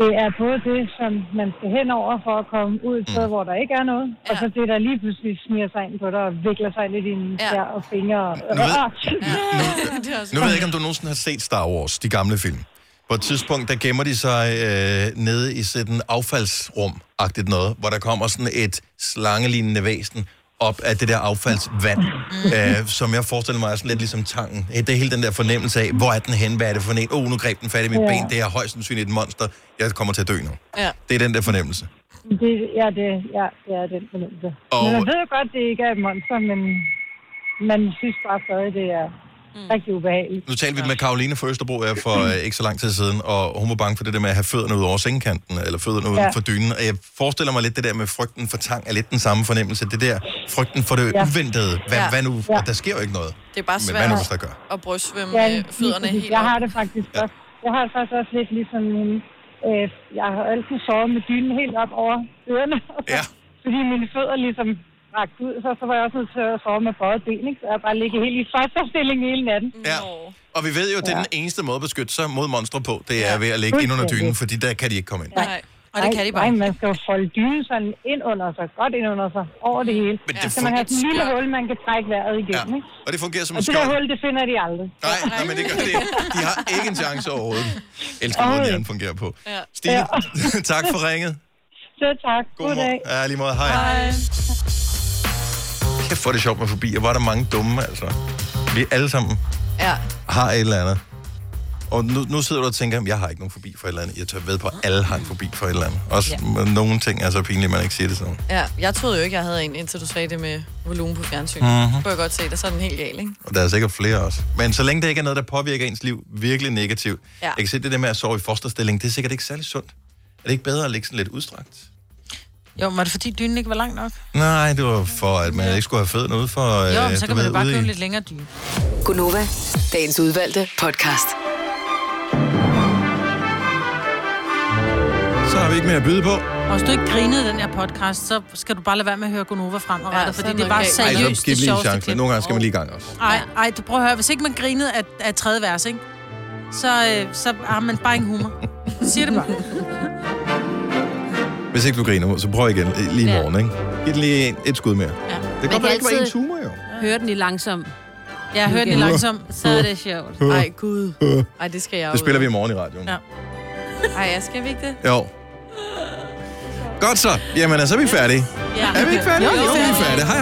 Det er både det, som man skal hen over for at komme ud et sted,
Mm.
hvor der ikke er noget, ja. og så det, der lige pludselig smiger sig ind på dig og vikler sig ind i dine ja. og fingre. Og,
Nu ved-
Ah, shit. Altså.
Nu ved jeg ikke, om du nogensinde har set Star Wars, de gamle film. På et tidspunkt, der gemmer de sig øh, nede i sådan affaldsrum-agtigt noget, hvor der kommer sådan et slangelignende væsen op af det der affaldsvand, øh, som jeg forestiller mig er sådan lidt ligesom tangen. Eh, Det er hele den der fornemmelse af, hvor er den hen, hvad er det for en? Åh, oh, nu greb den fat i mit
Ja.
ja. ben, det er højst sandsynligt et monster, jeg kommer til at dø nu.
Ja.
Det er den der fornemmelse.
Det, ja, det, ja, det er den fornemmelse.
Og-
Og... Men man ved jo godt, det ikke er et monster, men man synes bare stadig, det er mm. rigtig ubehageligt.
Nu talte vi med Karoline fra Østerbro her for øh, ikke så lang tid siden, og hun var bange for det der med at have fødderne ud over sengekanten, eller fødderne uden
Ja.
for dynen. Og jeg forestiller mig lidt det der med frygten for tang, er lidt den samme fornemmelse. Det der frygten for det
Ja.
uventede. Hvad,
Ja.
hvad nu? Ja. Der sker jo ikke noget.
Det er bare
Men hvad
svært
nu, hvis der gør?
at brystsvømme
Ja,
ja,
lige
øh, fødderne
præcis.
helt
Jeg
op.
har det faktisk ja. også. Jeg har det faktisk også lidt ligesom min... Øh, jeg har altid sovet med dynen helt op over ørerne.
Ja.
fordi mine fødder ligesom rakt ud, så, så var jeg også nødt til at sove med både ben, ikke? Så jeg bare ligget helt i fosterstilling hele natten.
Ja. Og vi ved jo, at det er den eneste måde at beskytte sig mod monstre på, det er ved at ligge ind under dynen, fordi der kan de ikke komme ind.
Nej. Og det kan de bare. Nej, man skal jo folde dynen sådan ind under sig, godt ind under sig, over det hele.
Men det
så skal man have
fungerer-
sådan en lille hul, man kan trække vejret igennem, ja. ikke?
Og det fungerer som
Og
en
det der
skjold.
hul, det finder de aldrig.
Nej, nej, men det gør det. ikke. De har ikke en chance overhovedet. Jeg elsker måden,
Ej.
hjernen fungerer på.
Ja.
Stine, tak for ringet.
Så tak. God,
Godmorgen.
dag.
Ja, lige måde. Hej. Kæft, hvor er det sjovt med fobier. Hvor er der mange dumme, altså. Vi alle sammen
Ja.
har et eller andet. Og nu, nu sidder du og tænker, jeg har ikke nogen fobi for et eller andet. Jeg tør ved på, at alle har en fobi for et eller andet. Også ja. nogle ting er så pinlige, at man ikke siger det sådan.
Ja, jeg troede jo ikke, jeg havde en, indtil du sagde det med volumen på fjernsyn.
Mhm.
Mm-hmm. Kunne jeg godt se det, så er den helt gal, ikke?
Og der er sikkert flere også. Men så længe det ikke er noget, der påvirker ens liv virkelig negativt.
Ja.
Ja. Jeg kan se det der med at sove i fosterstilling, det er sikkert ikke særlig sundt. Er det ikke bedre at ligge sådan lidt udstrakt?
Jo, men var det fordi dynen ikke var lang nok?
Nej, det var for, at man ikke skulle have fødderne ude for...
Jo, men
øh, du
så kan man
ved,
jo bare
ude i-
købe lidt længere dyne.
Gunova, dagens udvalgte podcast.
Så har vi ikke mere at byde på.
Og hvis du ikke grinede i den her podcast, så skal du bare lade være med at høre Gonova fremadrettet,
Ja,
ja,
så
fordi
er
det
den
var
okay.
Ej, så
seriøst
giv
det
lige en
sjoveste
chance.
klip.
Nogle gange skal man lige i gang også.
Ej, ej, du prøver at høre, hvis ikke man grinede af, af tredje vers, ikke? Så, øh, så har man bare ingen humor. Siger det bare.
Hvis ikke du griner, så prøv igen øh, lige i
Ja.
morgen, ikke? Giv den lige en- et skud mere.
Ja.
Det kan godt være, det ikke var ens humor, jo.
Hør den i langsom.
Jeg
hør den i langsom.
Så er det sjovt.
Ej,
gud. Ej, det skal jeg
Det spiller vi i morgen i radioen.
Ja.
Ej, jeg skal vi ikke det?
Jo. Godt så. Jamen, så er vi færdige.
Ja.
Er vi ikke færdige? Jo, vi er færdige. Hej